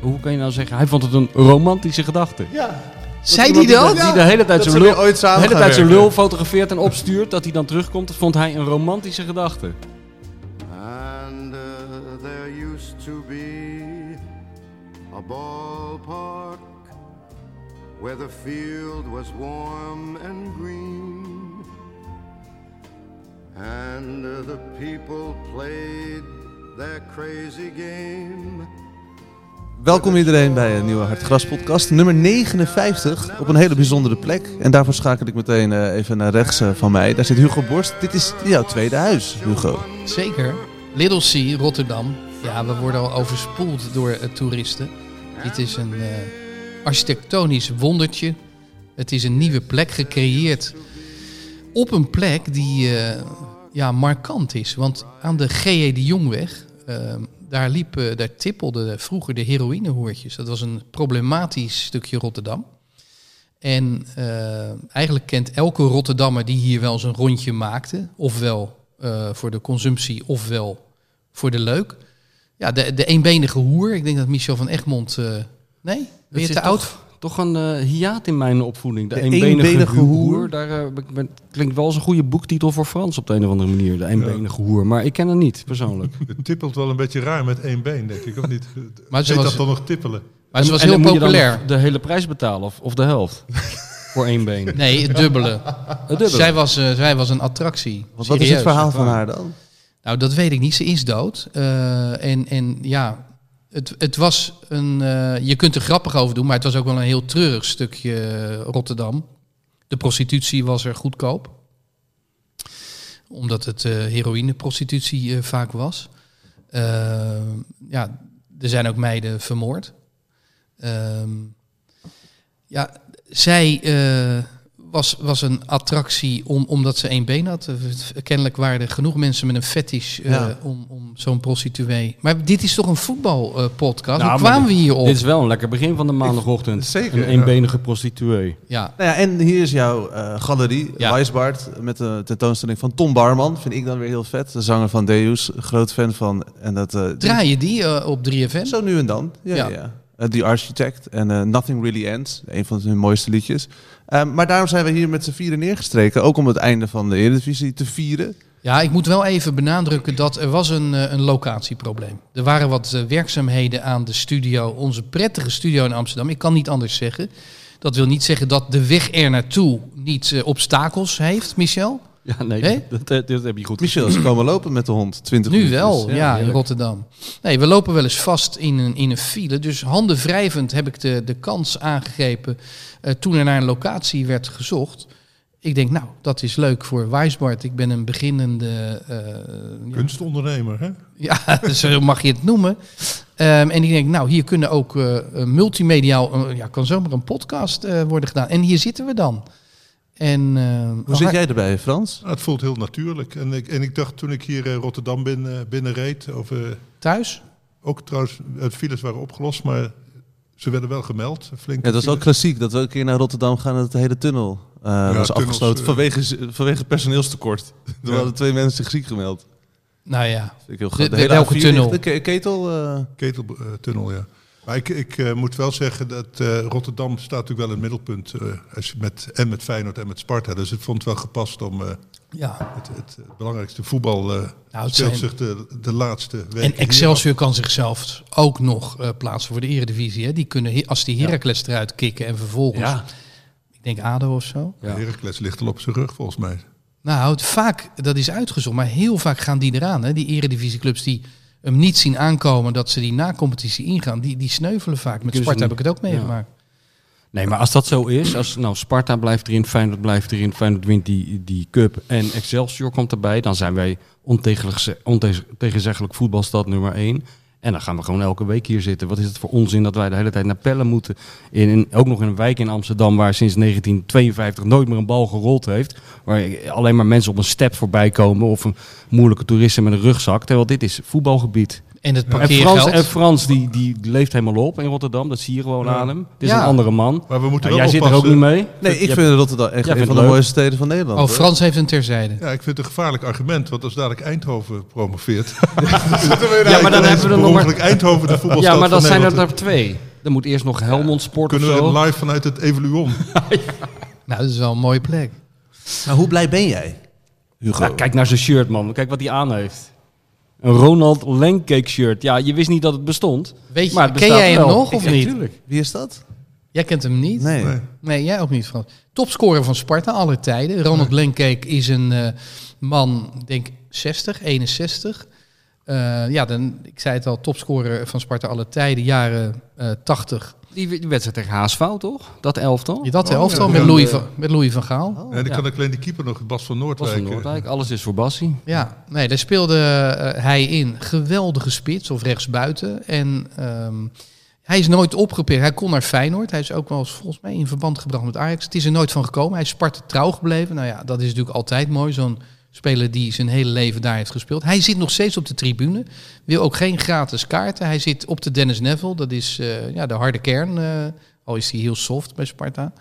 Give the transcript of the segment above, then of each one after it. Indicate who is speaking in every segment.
Speaker 1: Hoe kan je nou zeggen? Hij vond het een romantische gedachte.
Speaker 2: Ja.
Speaker 3: Zei die
Speaker 1: dat?
Speaker 3: dat?
Speaker 1: Die de hele tijd
Speaker 2: Dat
Speaker 1: zijn lul,
Speaker 2: ze weer ooit
Speaker 1: de
Speaker 2: samen
Speaker 1: hele
Speaker 2: gaan
Speaker 1: tijd zijn
Speaker 2: werken.
Speaker 1: lul fotografeert en opstuurt. Dat hij dan terugkomt. Dat vond hij een romantische gedachte.
Speaker 4: And uh, there used to be a ballpark where the field was warm and green. And uh, the people played their crazy game.
Speaker 2: Welkom iedereen bij een nieuwe Hartgras podcast, nummer 59, op een hele bijzondere plek. En daarvoor schakel ik meteen eh, even naar rechts eh, van mij. Daar zit Hugo Borst. Dit is jouw tweede huis, Hugo.
Speaker 3: Zeker. Little C, Rotterdam. Ja, we worden al overspoeld door eh, toeristen. Dit is een eh, architectonisch wondertje. Het is een nieuwe plek gecreëerd op een plek die eh, ja, markant is. Want aan de G.E. de Jongweg, eh, daar, liep, eh, daar tippelden vroeger de heroïnehoertjes. Dat was een problematisch stukje Rotterdam. En eh, eigenlijk kent elke Rotterdammer die hier wel eens een rondje maakte, ofwel eh, voor de consumptie, ofwel voor de leuk. Ja, de, de eenbenige hoer. Ik denk dat Michel van Egmond. eh, nee, ben je
Speaker 1: zit
Speaker 3: te oud?
Speaker 1: Toch, toch een eh, hiaat in mijn opvoeding. De,
Speaker 2: De
Speaker 1: eenbenige,
Speaker 2: eenbenige
Speaker 1: hoer.
Speaker 2: hoer.
Speaker 1: Daar, eh, ben- ben- klinkt wel als een goede boektitel voor Frans op de een of andere manier. De eenbenige hoer. Maar ik ken het niet persoonlijk.
Speaker 5: Het tippelt wel een beetje raar met één been, denk ik, of niet?
Speaker 3: Maar
Speaker 5: Maar
Speaker 3: ze
Speaker 5: Heet
Speaker 3: was-
Speaker 5: dat dan nog tippelen?
Speaker 3: Maar ze was
Speaker 1: En dan
Speaker 3: heel
Speaker 1: moet je dan
Speaker 3: populair.
Speaker 1: de hele prijs betalen of, of de helft. voor één been.
Speaker 3: Nee, het dubbele.
Speaker 1: Het dubbele.
Speaker 3: Zij was, eh, zij was een attractie.
Speaker 2: Want wat is het
Speaker 3: Serieus.
Speaker 2: verhaal van haar dan?
Speaker 3: Nou, dat weet ik niet. Ze is dood. Eh, en, en ja, het, het was een. eh, je kunt er grappig over doen, maar het was ook wel een heel treurig stukje eh, Rotterdam. De prostitutie was er goedkoop, omdat het eh heroïneprostitutie eh, vaak was. Eh, ja, er zijn ook meiden vermoord. Ehm, ja, zij eh, was, was een attractie om, omdat ze één been had. Eh, Kennelijk waren er genoeg mensen met een fetish eh,
Speaker 2: Ja.
Speaker 3: om, om zo'n prostituee. Maar dit is toch een voetbalpodcast?
Speaker 1: Nou,
Speaker 3: Hoe
Speaker 1: maar
Speaker 3: kwamen we hierop?
Speaker 1: Dit is wel een lekker begin van de maandagochtend.
Speaker 5: Zeker,
Speaker 1: Een
Speaker 5: ja.
Speaker 1: eenbenige prostituee.
Speaker 3: Ja.
Speaker 2: Nou ja, en hier is jouw eh, galerie,
Speaker 3: Ja.
Speaker 2: Weisbart, met de tentoonstelling van Tom Barman. Vind ik dan weer heel vet. De zanger van Deus, groot fan van. En dat, eh, die-
Speaker 3: Draai je die eh, op 3FM?
Speaker 2: Zo nu en dan. Ja,
Speaker 3: Ja.
Speaker 2: ja. ja. Eh, The Architect en eh, Nothing Really Ends. Een van hun mooiste liedjes. Eh, maar daarom zijn we hier met z'n vieren neergestreken. Ook om het einde van de Eredivisie te vieren.
Speaker 3: Ja, ik moet wel even benadrukken dat er was een, eh, een locatieprobleem. Er waren wat eh, werkzaamheden aan de studio, onze prettige studio in Amsterdam. Ik kan niet anders zeggen. Dat wil niet zeggen dat de weg er naartoe niet eh, obstakels heeft, Michel.
Speaker 1: Ja, nee,
Speaker 3: Hé?
Speaker 1: dat,
Speaker 2: Eh,
Speaker 1: dat, dat heb je goed
Speaker 2: Michel is komen lopen met de hond. 20
Speaker 3: Nu
Speaker 2: minuutjes.
Speaker 3: wel,
Speaker 1: ja,
Speaker 3: ja, in
Speaker 1: heerlijk.
Speaker 3: Rotterdam. Nee, we lopen wel eens vast in een, in een file. Dus handenwrijvend heb ik de, de kans aangegrepen eh, toen er naar een locatie werd gezocht. Ik denk, nou, dat is leuk voor Wijsbart. Ik ben een beginnende eh, ja,
Speaker 5: Kunstondernemer, hè?
Speaker 3: Ja, dus zo mag je het noemen. Ehm, en ik denk, nou, hier kunnen ook eh, eh, multimediaal, eh, ja, kan zomaar een podcast eh, worden gedaan. En hier zitten we dan. En, ehm,
Speaker 2: Hoe zit jij erbij, Frans?
Speaker 5: Nou, het voelt heel natuurlijk. En ik, en ik dacht toen ik hier eh, Rotterdam binnen, binnenreed, of, eh,
Speaker 3: thuis?
Speaker 5: ook trouwens, het files waren opgelost, maar ze werden wel gemeld. Flink
Speaker 2: Ja, dat is ook klassiek. Dat we een keer naar Rotterdam gaan en dat de hele tunnel eh, was
Speaker 5: tunnels,
Speaker 2: afgesloten.
Speaker 5: eh.
Speaker 2: vanwege, z- vanwege personeelstekort. Er
Speaker 5: Ja.
Speaker 2: hadden twee mensen zich ziek gemeld. Dat
Speaker 3: Nou ja.
Speaker 2: vind ik heel
Speaker 3: De-
Speaker 2: grappig.
Speaker 3: de- welke
Speaker 2: A4
Speaker 3: tunnel?
Speaker 2: ligt- De ke- ketel? eh,
Speaker 5: Keteltunnel, ja. Maar ik, ik eh, moet wel zeggen dat eh, Rotterdam staat natuurlijk wel in het middelpunt. eh, als je met, en met Feyenoord en met Sparta. Dus het vond wel gepast om eh,
Speaker 3: Ja.
Speaker 5: Het, het, het belangrijkste voetbal eh,
Speaker 3: Nou,
Speaker 5: speelt
Speaker 3: het zijn-
Speaker 5: zich de, de laatste weken.
Speaker 3: En
Speaker 5: hier af.
Speaker 3: Excelsior kan zichzelf ook nog eh, plaatsen voor de eredivisie. Hè. Die kunnen, he- als die Heracles eruit kikken en vervolgens,
Speaker 1: Ja.
Speaker 3: ik denk ADO of zo.
Speaker 1: Ja.
Speaker 5: Heracles ligt al op zijn rug volgens mij.
Speaker 3: Nou, het, vaak, dat is uitgezocht, maar heel vaak gaan die eraan. Hè. Die eredivisieclubs die hem niet zien aankomen dat ze die na-competitie ingaan, die, die sneuvelen vaak. Met
Speaker 1: Kunnen ze
Speaker 3: Sparta heb
Speaker 1: niet-
Speaker 3: ik het ook
Speaker 1: Ja.
Speaker 3: meegemaakt.
Speaker 1: Nee, maar als dat zo is, als nou Sparta blijft erin, Feyenoord blijft erin, Feyenoord wint die, die cup en Excelsior komt erbij, dan zijn wij ontegelig- ontegenzeggelijk voetbalstad nummer één. En dan gaan we gewoon elke week hier zitten. Wat is het voor onzin dat wij de hele tijd naar Pellen moeten? In, in- ook nog in een wijk in Amsterdam waar sinds 1952 nooit meer een bal gerold heeft. Waar alleen maar mensen op een step voorbij komen of een moeilijke toeristen met een rugzak. Terwijl dit is voetbalgebied.
Speaker 3: En het
Speaker 1: En Frans,
Speaker 3: parkeergeld.
Speaker 1: en Frans die, die leeft helemaal op in Rotterdam. Dat zie je gewoon aan hem. Het is
Speaker 3: Ja.
Speaker 1: een andere man.
Speaker 5: Maar we moeten
Speaker 1: Ja,
Speaker 5: wel
Speaker 1: jij zit er ook
Speaker 5: oppassen.
Speaker 1: niet mee.
Speaker 2: Nee, ik
Speaker 1: Jij-
Speaker 2: vind Rotterdam echt
Speaker 1: jij vindt
Speaker 2: een van
Speaker 1: het
Speaker 2: de
Speaker 1: leuk.
Speaker 2: mooiste steden van Nederland.
Speaker 3: oh,
Speaker 2: hoor.
Speaker 3: Frans heeft een terzijde.
Speaker 5: Ja, ik vind het een gevaarlijk argument, want als dadelijk Eindhoven promoveert.
Speaker 1: Ja, maar dan hebben we er nog maar...
Speaker 5: Ongeluk Eindhoven de voetbalstad
Speaker 1: Ja, maar dan
Speaker 5: van
Speaker 1: zijn er
Speaker 5: Nederland.
Speaker 1: er twee. Dan moet eerst nog Helmond Sport of
Speaker 5: Kunnen
Speaker 1: zo.
Speaker 5: we live vanuit het Evoluon?
Speaker 3: Nou, dat is wel een mooie plek.
Speaker 2: Nou, hoe blij ben jij, Hugo?
Speaker 1: Ja, kijk naar zijn shirt, man. Kijk wat hij aan heeft. Een Ronald Langcake shirt. Ja, je wist niet dat het bestond.
Speaker 3: Weet je,
Speaker 1: maar het
Speaker 3: ken
Speaker 1: bestaat
Speaker 3: jij hem
Speaker 1: wel.
Speaker 3: nog of
Speaker 1: Ja,
Speaker 3: niet?
Speaker 1: tuurlijk.
Speaker 2: Wie is dat?
Speaker 3: Jij kent hem niet?
Speaker 2: Nee.
Speaker 5: Nee.
Speaker 3: Nee, jij ook niet, Frans. Topscorer van Sparta, alle tijden. Ronald Lenkeek is een eh, man, ik denk 60, 61. Eh, ja, dan, ik zei het al, topscorer van Sparta alle tijden, jaren eh 80.
Speaker 1: Die, die wedstrijd tegen Haasvouw, toch? Dat elftal?
Speaker 3: Je dat
Speaker 5: Oh, ja.
Speaker 3: elftal met,
Speaker 5: Ja, Oh. de-
Speaker 3: Louis van, met Louis van Gaal.
Speaker 5: en dan
Speaker 1: ja.
Speaker 5: kan ik alleen die keeper nog, Bas van
Speaker 1: was
Speaker 5: Noordwijk.
Speaker 1: van
Speaker 5: eh,
Speaker 1: Noordwijk. Alles is voor Bassie.
Speaker 3: Ja, nee, daar speelde eh, hij in. Geweldige spits of rechtsbuiten. En ehm, hij is nooit opgepikt. Hij kon naar Feyenoord. Hij is ook wel eens volgens mij in verband gebracht met Ajax. Het is er nooit van gekomen. Hij is Sparta trouw gebleven. Nou ja, dat is natuurlijk altijd mooi. Zo'n speler die zijn hele leven daar heeft gespeeld. Hij zit nog steeds op de tribune. Wil ook geen gratis kaarten. Hij zit op de Dennis Neville. Dat is eh, ja, de harde kern. eh, al is hij heel soft bij Sparta.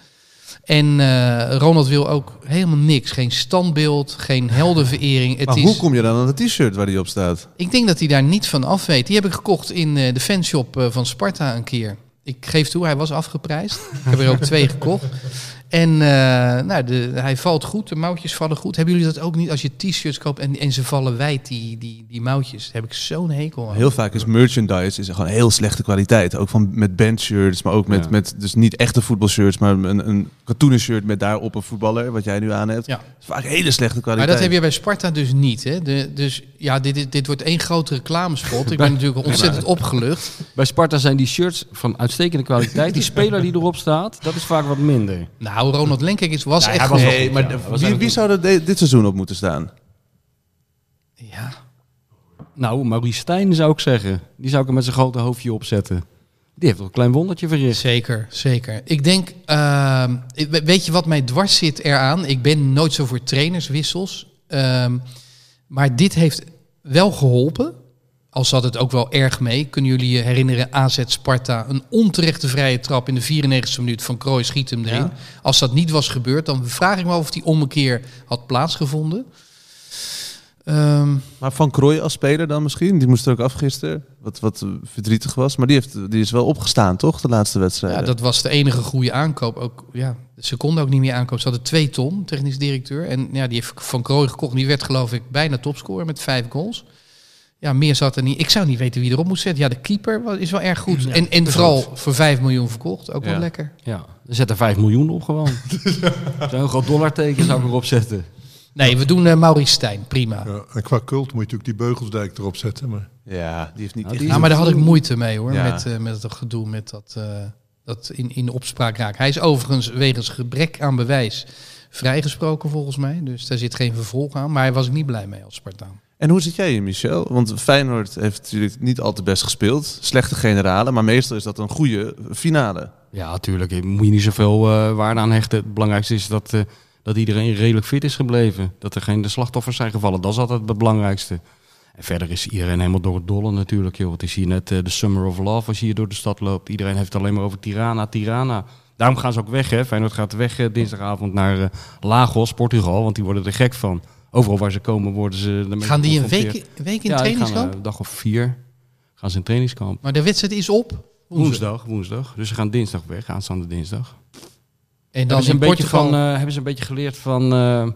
Speaker 3: En eh, Ronald wil ook helemaal niks. Geen standbeeld, geen heldenverering. Het
Speaker 2: maar
Speaker 3: is...
Speaker 2: hoe kom je dan aan het t-shirt waar die op staat?
Speaker 3: Ik denk dat hij daar niet van af weet. Die heb ik gekocht in eh, de fanshop eh, van Sparta een keer. Ik geef toe, hij was afgeprijsd. ik heb er ook twee gekocht. En eh, nou, de, hij valt goed, de mouwtjes vallen goed. Hebben jullie dat ook niet als je t-shirts koopt en, en ze vallen wijd, die, die, die mouwtjes? Daar heb ik zo'n hekel aan.
Speaker 2: Heel vaak is merchandise is gewoon heel slechte kwaliteit. Ook van, met bandshirts, maar ook met,
Speaker 1: Ja.
Speaker 2: met dus niet echte voetbalshirts, maar een, een katoenen shirt met daarop een voetballer, wat jij nu aan hebt.
Speaker 3: Ja.
Speaker 2: Is vaak hele slechte
Speaker 3: Maar
Speaker 2: kwaliteit.
Speaker 3: dat heb je bij Sparta dus niet. Hè? De, dus ja, dit, is- dit wordt één grote reclamespot. Ik ben natuurlijk ontzettend opgelucht.
Speaker 1: Bij Sparta zijn die shirts van uitstekende kwaliteit. Die speler die erop staat, dat is vaak wat minder.
Speaker 3: Nou, Ronald Lenkek is, was
Speaker 1: Ja, hij
Speaker 3: echt...
Speaker 1: was
Speaker 3: goed.
Speaker 1: wel-
Speaker 2: Nee, maar
Speaker 1: Ja,
Speaker 2: de-
Speaker 1: we zijn
Speaker 2: wie,
Speaker 1: het
Speaker 2: wie zou er de- dit seizoen op moeten staan?
Speaker 3: Ja.
Speaker 1: Nou, Maurice Stijn zou ik zeggen. Die zou ik er met zijn grote hoofdje opzetten. Die heeft wel een klein wondertje verricht.
Speaker 3: Zeker, zeker. Ik denk, ehm, ik- we- weet je wat mij dwars zit eraan? Ik ben nooit zo voor trainerswissels. Ehm, maar dit heeft wel geholpen. Al zat het ook wel erg mee. Kunnen jullie je herinneren, AZ Sparta, een onterechte vrije trap in de 94e minuut van Krooi schiet hem erin. Als dat niet was gebeurd, dan vraag ik me af of die ommekeer had plaatsgevonden. Ehm,
Speaker 2: Maar Van Krooij als speler dan misschien? Die moest er ook af gisteren, wat, wat eh, verdrietig was. Maar die, heeft, die is wel opgestaan, toch? De laatste wedstrijd.
Speaker 3: Ja, dat was de enige goede aankoop. Ook, ja, ze konden ook niet meer aankopen. Ze hadden twee ton, technisch directeur. En ja, die heeft Van Krooi gekocht. Die werd geloof ik bijna topscorer met vijf goals. Ja, meer zat er niet. Ik zou niet weten wie erop moest zetten. Ja, de keeper wa- is wel erg goed. en en vooral voor vijf miljoen verkocht. Ook
Speaker 2: Ja.
Speaker 3: wel lekker.
Speaker 1: Ja, zet er 5 miljoen op gewoon. Zo'n groot dollarteken zou ik erop zetten.
Speaker 3: Nee, we doen eh Maurice Stijn. Prima. Ja,
Speaker 5: ja, en qua cult moet je natuurlijk die Beugelsdijk erop zetten. Maar
Speaker 2: Ja, die heeft niet
Speaker 1: Nou,
Speaker 2: echt...
Speaker 1: die-
Speaker 3: maar daar had ik moeite mee hoor.
Speaker 2: Ja.
Speaker 3: Met, eh, met het gedoe met dat, eh, dat in, in de opspraak raakt. Hij is overigens wegens gebrek aan bewijs vrijgesproken volgens mij. Dus daar zit geen vervolg aan. Maar hij was ik niet blij mee als Spartaan.
Speaker 2: En hoe zit jij hier, Michel? Want Feyenoord heeft natuurlijk niet al te best gespeeld. Slechte generalen, maar meestal is dat een goede finale.
Speaker 1: Ja, natuurlijk. Moet je niet zoveel eh, waarde aan hechten. Het belangrijkste is dat, eh, dat iedereen redelijk fit is gebleven. Dat er geen de slachtoffers zijn gevallen. Dat is altijd het belangrijkste. En verder is iedereen helemaal door het dolle natuurlijk. Joh. Het is hier net eh, de Summer of Love als je hier door de stad loopt. Iedereen heeft het alleen maar over Tirana, Tirana. Daarom gaan ze ook weg. Hè. Feyenoord gaat weg eh, dinsdagavond naar eh, Lagos, Portugal. Want die worden er gek van. Overal waar ze komen worden ze... ermee
Speaker 3: Gaan die een
Speaker 1: geconfronteerd.
Speaker 3: week, een week
Speaker 1: Ja, die
Speaker 3: in
Speaker 1: gaan,
Speaker 3: trainingskamp?
Speaker 1: eh, een dag of vier gaan ze in trainingskamp.
Speaker 3: maar de wedstrijd is op.
Speaker 1: Woensdag, woensdag. Dus ze gaan dinsdag weg, aanstaande dinsdag.
Speaker 3: En
Speaker 1: Dan
Speaker 3: dan
Speaker 1: hebben, ze
Speaker 3: in
Speaker 1: een beetje
Speaker 3: Portugal.
Speaker 1: van, eh, hebben ze een beetje geleerd van eh,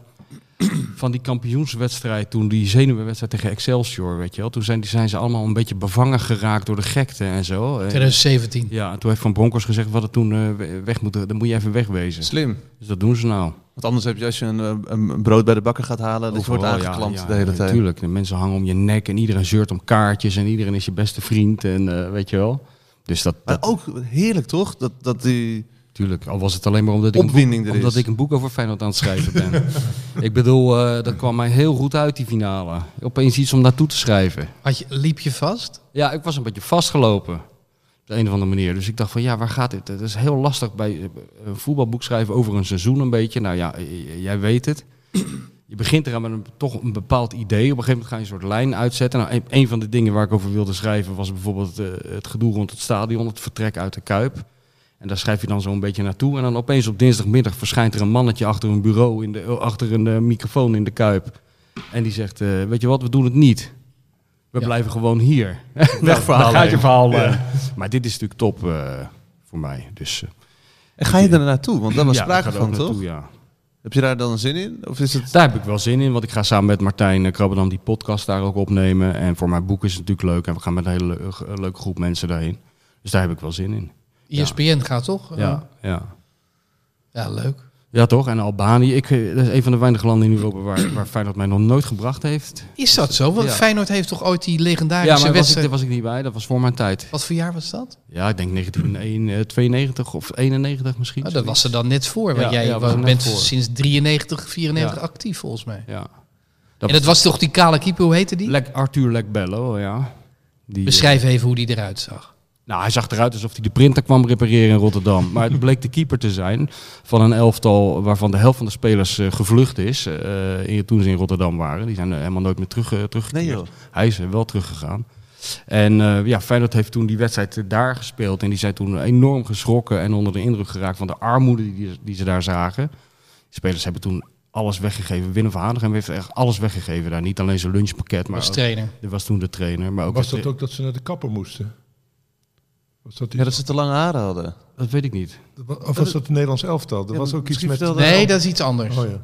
Speaker 1: van die kampioenswedstrijd toen, die zenuwenwedstrijd tegen Excelsior, weet je wel. Toen zijn, die zijn ze allemaal een beetje bevangen geraakt door de gekte en zo. En-
Speaker 3: 2017.
Speaker 1: Ja, en toen heeft Van Bronckhorst gezegd, we hadden toen eh, we- weg moeten, dan moet je even wegwezen.
Speaker 2: Slim.
Speaker 1: Dus dat doen ze nou.
Speaker 2: Want anders heb je als je een, eh, een een brood bij de bakker gaat halen, dat je wordt
Speaker 1: Overal, ja,
Speaker 2: aangeklampt
Speaker 1: ja,
Speaker 2: de hele
Speaker 1: ja,
Speaker 2: tijd.
Speaker 1: Tuurlijk, de mensen hangen om je nek en iedereen zeurt om kaartjes en iedereen is je beste vriend en eh, weet je wel. Dus dat,
Speaker 2: Maar
Speaker 1: dat
Speaker 2: ook heerlijk toch? Dat, dat die...
Speaker 1: tuurlijk, al was het alleen maar omdat ik, een
Speaker 2: Opwinding
Speaker 1: boek,
Speaker 2: er is.
Speaker 1: omdat ik een boek over Feyenoord aan het schrijven ben. ik bedoel, eh, dat kwam mij heel goed uit die finale. Opeens iets om naartoe te schrijven.
Speaker 3: Had je, liep je vast?
Speaker 1: Ja, ik was een beetje vastgelopen. Op de een of andere manier. Dus ik dacht van ja, waar gaat dit? Het is heel lastig bij eh, een voetbalboek schrijven over een seizoen een beetje. Nou ja, eh, jij weet het. Je begint eraan met een, toch een bepaald idee. Op een gegeven moment ga je een soort lijn uitzetten. Nou, een, een van de dingen waar ik over wilde schrijven was bijvoorbeeld eh, het gedoe rond het stadion, het vertrek uit de Kuip. En daar schrijf je dan zo'n beetje naartoe. En dan opeens op dinsdagmiddag verschijnt er een mannetje achter een bureau, in de, achter een eh, microfoon in de Kuip. En die zegt, eh, weet je wat, we doen het niet. We
Speaker 3: Ja.
Speaker 1: blijven gewoon hier. Weg verhaal. Gaat je verhaal. eh. Maar dit is natuurlijk top eh, voor mij. Dus, eh,
Speaker 2: En ga je er naartoe? Want daar was
Speaker 1: ja, ik ga
Speaker 2: sprake
Speaker 1: er
Speaker 2: van,
Speaker 1: ook
Speaker 2: toch?
Speaker 1: naartoe, Ja.
Speaker 2: Heb je daar dan zin in? Of is het...
Speaker 1: Daar heb ik wel zin in, want ik ga samen met Martijn eh, Krabbe dan die podcast daar ook opnemen. En voor mijn boek is het natuurlijk leuk. En we gaan met een hele le- eh, leuke groep mensen daarheen. Dus daar heb ik wel zin in. Ja.
Speaker 3: ESPN gaat toch?
Speaker 1: Ja, ja.
Speaker 3: Ja, leuk.
Speaker 1: ja toch? En Albanië, ik, eh, dat is een van de weinige landen in Europa waar, waar Feyenoord mij nog nooit gebracht heeft.
Speaker 3: Is dat zo? Want
Speaker 1: Ja.
Speaker 3: Feyenoord heeft toch ooit die
Speaker 1: ja,
Speaker 3: legendarische
Speaker 1: maar was ik,
Speaker 3: wedstrijd...
Speaker 1: daar was ik niet bij. Dat was voor mijn tijd.
Speaker 3: Wat voor jaar was dat?
Speaker 1: Ja, ik denk 1992 of 91 misschien.
Speaker 3: Nou, dat was er dan net voor. Want
Speaker 1: Ja,
Speaker 3: jij
Speaker 1: ja, was
Speaker 3: wa-
Speaker 1: er net
Speaker 3: bent
Speaker 1: voor.
Speaker 3: sinds 93, 94
Speaker 1: Ja.
Speaker 3: actief volgens mij.
Speaker 1: Ja.
Speaker 3: en dat was toch die kale keeper, hoe heette die?
Speaker 1: Lek, Arthur Lekbello, ja. Die,
Speaker 3: Beschrijf even hoe die eruit zag.
Speaker 1: Nou, hij zag eruit alsof hij de printer kwam repareren in Rotterdam. Maar het bleek de keeper te zijn van een elftal waarvan de helft van de spelers eh, gevlucht is. eh, in, toen ze in Rotterdam waren. Die zijn eh, helemaal nooit meer terug, eh, teruggekeerd.
Speaker 2: Nee joh.
Speaker 1: Hij is eh, wel teruggegaan. En eh ja, Feyenoord heeft toen die wedstrijd eh, daar gespeeld. En die zijn toen enorm geschrokken en onder de indruk geraakt van de armoede die, die ze daar zagen. De spelers hebben toen alles weggegeven. Willem van Hanegem heeft echt alles weggegeven daar. Niet alleen zijn lunchpakket, maar
Speaker 3: Als
Speaker 1: ook-
Speaker 3: trainer.
Speaker 1: er was toen de trainer. Maar ook
Speaker 5: Was
Speaker 1: het-
Speaker 5: dat ook dat ze naar de kapper moesten? Was dat,
Speaker 2: Ja, dat
Speaker 5: iets,
Speaker 2: ze te lange haren hadden.
Speaker 1: dat weet ik niet.
Speaker 5: of was dat het Nederlands elftal? Er
Speaker 2: Ja,
Speaker 5: was ook iets
Speaker 2: misschien
Speaker 5: met...
Speaker 2: vertelde-
Speaker 3: Nee, dat is iets anders.
Speaker 5: Oh ja.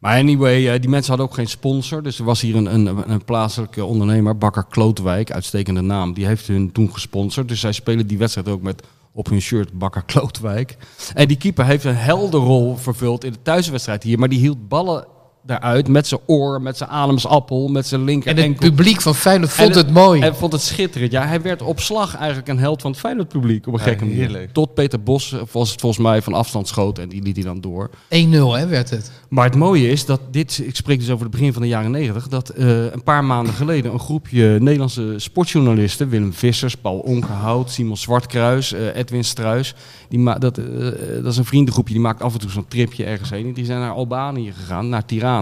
Speaker 1: Maar anyway, eh, die mensen hadden ook geen sponsor. Dus er was hier een, een, een plaatselijke ondernemer, Bakker Klootwijk, uitstekende naam. Die heeft hun toen gesponsord. Dus zij spelen die wedstrijd ook met op hun shirt Bakker Klootwijk. En die keeper heeft een helder rol vervuld in de thuiswedstrijd hier. Maar die hield ballen daaruit met zijn oor, met zijn ademsappel, met zijn linker
Speaker 3: En het
Speaker 1: enkel.
Speaker 3: publiek van Feyenoord vond
Speaker 1: En
Speaker 3: het mooi.
Speaker 1: Hij vond het schitterend. Ja, hij werd op slag eigenlijk een held van het Feyenoord publiek op een
Speaker 2: Ja,
Speaker 1: gekke manier.
Speaker 2: heerlijk.
Speaker 1: Tot Peter Bos eh, was het volgens mij van afstand schoot en die liet hij dan door.
Speaker 3: 1-0 hè, werd het.
Speaker 1: Maar het mooie is dat dit, ik spreek dus over het begin van de jaren negentig, dat eh, een paar maanden geleden een groepje Nederlandse sportjournalisten, Willem Vissers, Paul Onkenhout, Simon Zwartkruis, eh, Edwin Struis, die ma- dat, eh, dat is een vriendengroepje, die maakt af en toe zo'n tripje ergens heen. En die zijn naar Albanië gegaan, naar Tirana.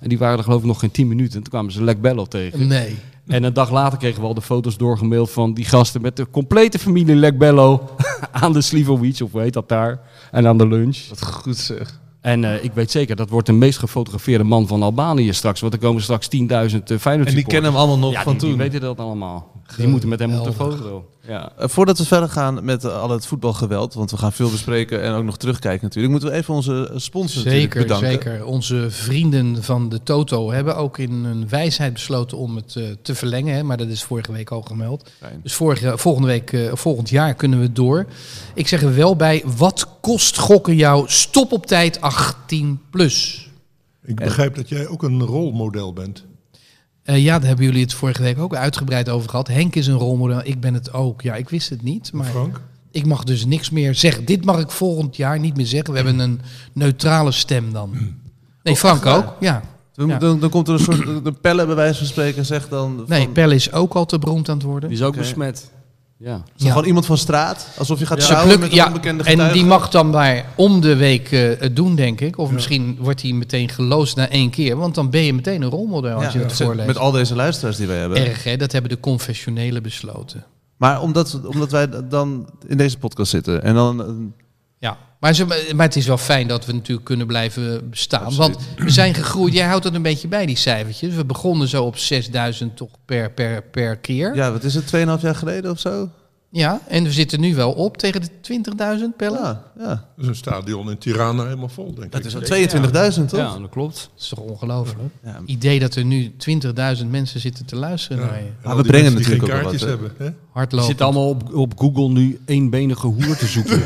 Speaker 1: En die waren er geloof ik nog geen tien minuten. En toen kwamen ze Lek Bello tegen.
Speaker 3: Nee.
Speaker 1: En een dag later kregen we al de foto's doorgemaild van die gasten met de complete familie Lek Bello aan de Slivovic, of weet dat daar, en aan de lunch.
Speaker 2: Wat goed zeg.
Speaker 1: En eh, ik weet zeker, dat wordt de meest gefotografeerde man van Albanië straks. Want er komen straks 10.000 uh, Feyenoord
Speaker 2: En die kennen hem allemaal nog
Speaker 1: ja,
Speaker 2: van
Speaker 1: die,
Speaker 2: toen.
Speaker 1: die weten dat allemaal. Die moeten met hem op de
Speaker 3: Geweldig.
Speaker 1: foto. Ja.
Speaker 2: Eh, Voordat we verder gaan met eh, al het voetbalgeweld, want we gaan veel bespreken en ook nog terugkijken natuurlijk, moeten we even onze eh, sponsors natuurlijk
Speaker 3: Zeker,
Speaker 2: bedanken.
Speaker 3: zeker. Onze vrienden van de Toto hebben ook in hun wijsheid besloten om het eh, te verlengen. Hè, maar dat is vorige week al gemeld.
Speaker 2: Fijn.
Speaker 3: Dus vorige, volgende week, eh, volgend jaar kunnen we door. Ik zeg er wel bij, wat kost gokken jou stop op tijd 18 plus?
Speaker 5: Ik begrijp dat jij ook een rolmodel bent.
Speaker 3: Eh, ja, daar hebben jullie het vorige week ook uitgebreid over gehad. Henk is een rolmodel, ik ben het ook. Ja, ik wist het niet, maar
Speaker 5: Frank?
Speaker 3: ik mag dus niks meer zeggen. Dit mag ik volgend jaar niet meer zeggen. We hebben een neutrale stem
Speaker 2: Hm.
Speaker 3: dan. Nee, Frank ook, ja.
Speaker 2: We moeten- Dan, dan komt er een soort eh, de pellen bij wijze van spreken en zegt dan van,
Speaker 3: Nee, Pelle is ook al te beroemd aan het
Speaker 1: Die
Speaker 3: worden.
Speaker 1: is ook
Speaker 2: Oké.
Speaker 1: besmet. Ja.
Speaker 2: zo
Speaker 3: Ja.
Speaker 2: van iemand van straat, alsof je gaat
Speaker 3: Ze
Speaker 2: trouwen
Speaker 3: pluk-
Speaker 2: met een
Speaker 3: ja,
Speaker 2: onbekende
Speaker 3: en
Speaker 2: getuige.
Speaker 3: die mag dan maar om de week eh, het doen, denk ik. Of misschien wordt hij meteen geloosd na één keer. Want dan ben je meteen een rolmodel als
Speaker 2: Ja,
Speaker 3: je het
Speaker 2: met-
Speaker 3: voorleest.
Speaker 2: met al deze luisteraars die wij hebben.
Speaker 3: Erg, hè? Dat hebben de confessionelen besloten.
Speaker 2: Maar omdat, omdat wij dan in deze podcast zitten en dan eh,
Speaker 3: Ja, maar, ze, maar het is wel fijn dat we natuurlijk kunnen blijven bestaan.
Speaker 2: Absoluut.
Speaker 3: Want we zijn gegroeid. Jij houdt het een beetje bij, die cijfertjes. We begonnen zo op 6000 toch per, per, per keer.
Speaker 2: ja, wat is het 2,5 jaar geleden of zo?
Speaker 3: Ja, en we zitten nu wel op tegen de 20.000 pellen.
Speaker 2: Ja, ja.
Speaker 5: Dat is Dus een stadion in Tirana helemaal vol, denk
Speaker 2: Dat
Speaker 5: ik.
Speaker 2: is al 22.000, toch?
Speaker 1: Ja, dat klopt.
Speaker 3: Dat is toch ongelooflijk?
Speaker 2: Ja.
Speaker 3: Idee dat er nu 20.000 mensen zitten te luisteren naar je.
Speaker 5: En
Speaker 2: Maar
Speaker 5: al
Speaker 2: we
Speaker 5: die
Speaker 2: brengen
Speaker 5: mensen die
Speaker 2: natuurlijk
Speaker 5: geen
Speaker 2: ook wel
Speaker 5: kaartjes hebben. Hè?
Speaker 1: Je
Speaker 3: Hardlopen.
Speaker 1: zit allemaal op, op Google nu eenbenige hoer te zoeken.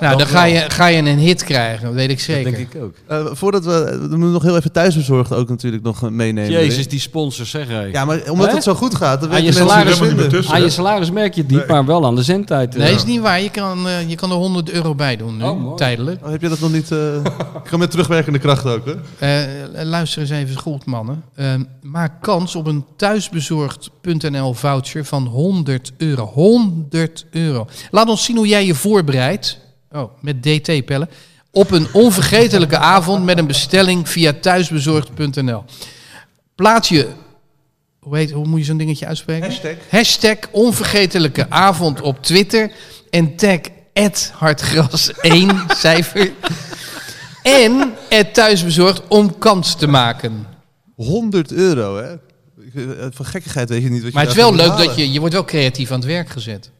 Speaker 3: nou, dan ga je, ga je een hit krijgen, dat weet ik
Speaker 1: dat
Speaker 3: zeker.
Speaker 1: denk ik ook.
Speaker 2: Eh, voordat we, we moeten nog heel even thuisbezorgd ook natuurlijk nog eh, meenemen.
Speaker 1: Jezus, die sponsors, zeg jij.
Speaker 2: Ja, maar omdat
Speaker 1: Hè?
Speaker 2: het zo goed gaat, dan
Speaker 1: Aan
Speaker 2: weten
Speaker 1: je
Speaker 2: mensen
Speaker 1: salaris-
Speaker 2: het vinden.
Speaker 5: tussen,
Speaker 1: Aan
Speaker 5: hè?
Speaker 1: je salaris merk je het niet,
Speaker 5: Nee.
Speaker 1: maar wel aan de zendtijd. eh.
Speaker 3: Nee, is niet waar. Je kan, eh, je kan er 100 euro bij doen nu,
Speaker 1: Oh, mooi.
Speaker 3: tijdelijk.
Speaker 2: Oh, heb je dat nog niet? eh, Ik ga met terugwerkende kracht ook, hè?
Speaker 3: Eh, luister eens even goed, mannen. Eh, maak kans op een thuisbezorgd.nl voucher van 100 euro. 100 euro. Laat ons zien hoe jij je voorbereidt. Oh, met DT-pellen. Op een onvergetelijke avond met een bestelling via thuisbezorgd.nl. Plaats je. Hoe, heet, hoe moet je zo'n dingetje uitspreken? Hashtag. onvergetelijke avond op Twitter. En tag hartgras 1 cijfer. En het thuisbezorgd om kans te maken.
Speaker 2: 100 euro, hè? Ik, eh, Van gekkigheid weet je niet wat
Speaker 3: Maar
Speaker 2: je
Speaker 3: het is wel
Speaker 2: daarvoor
Speaker 3: leuk
Speaker 2: moet
Speaker 3: dat
Speaker 2: halen.
Speaker 3: je... Je wordt wel creatief aan het werk gezet.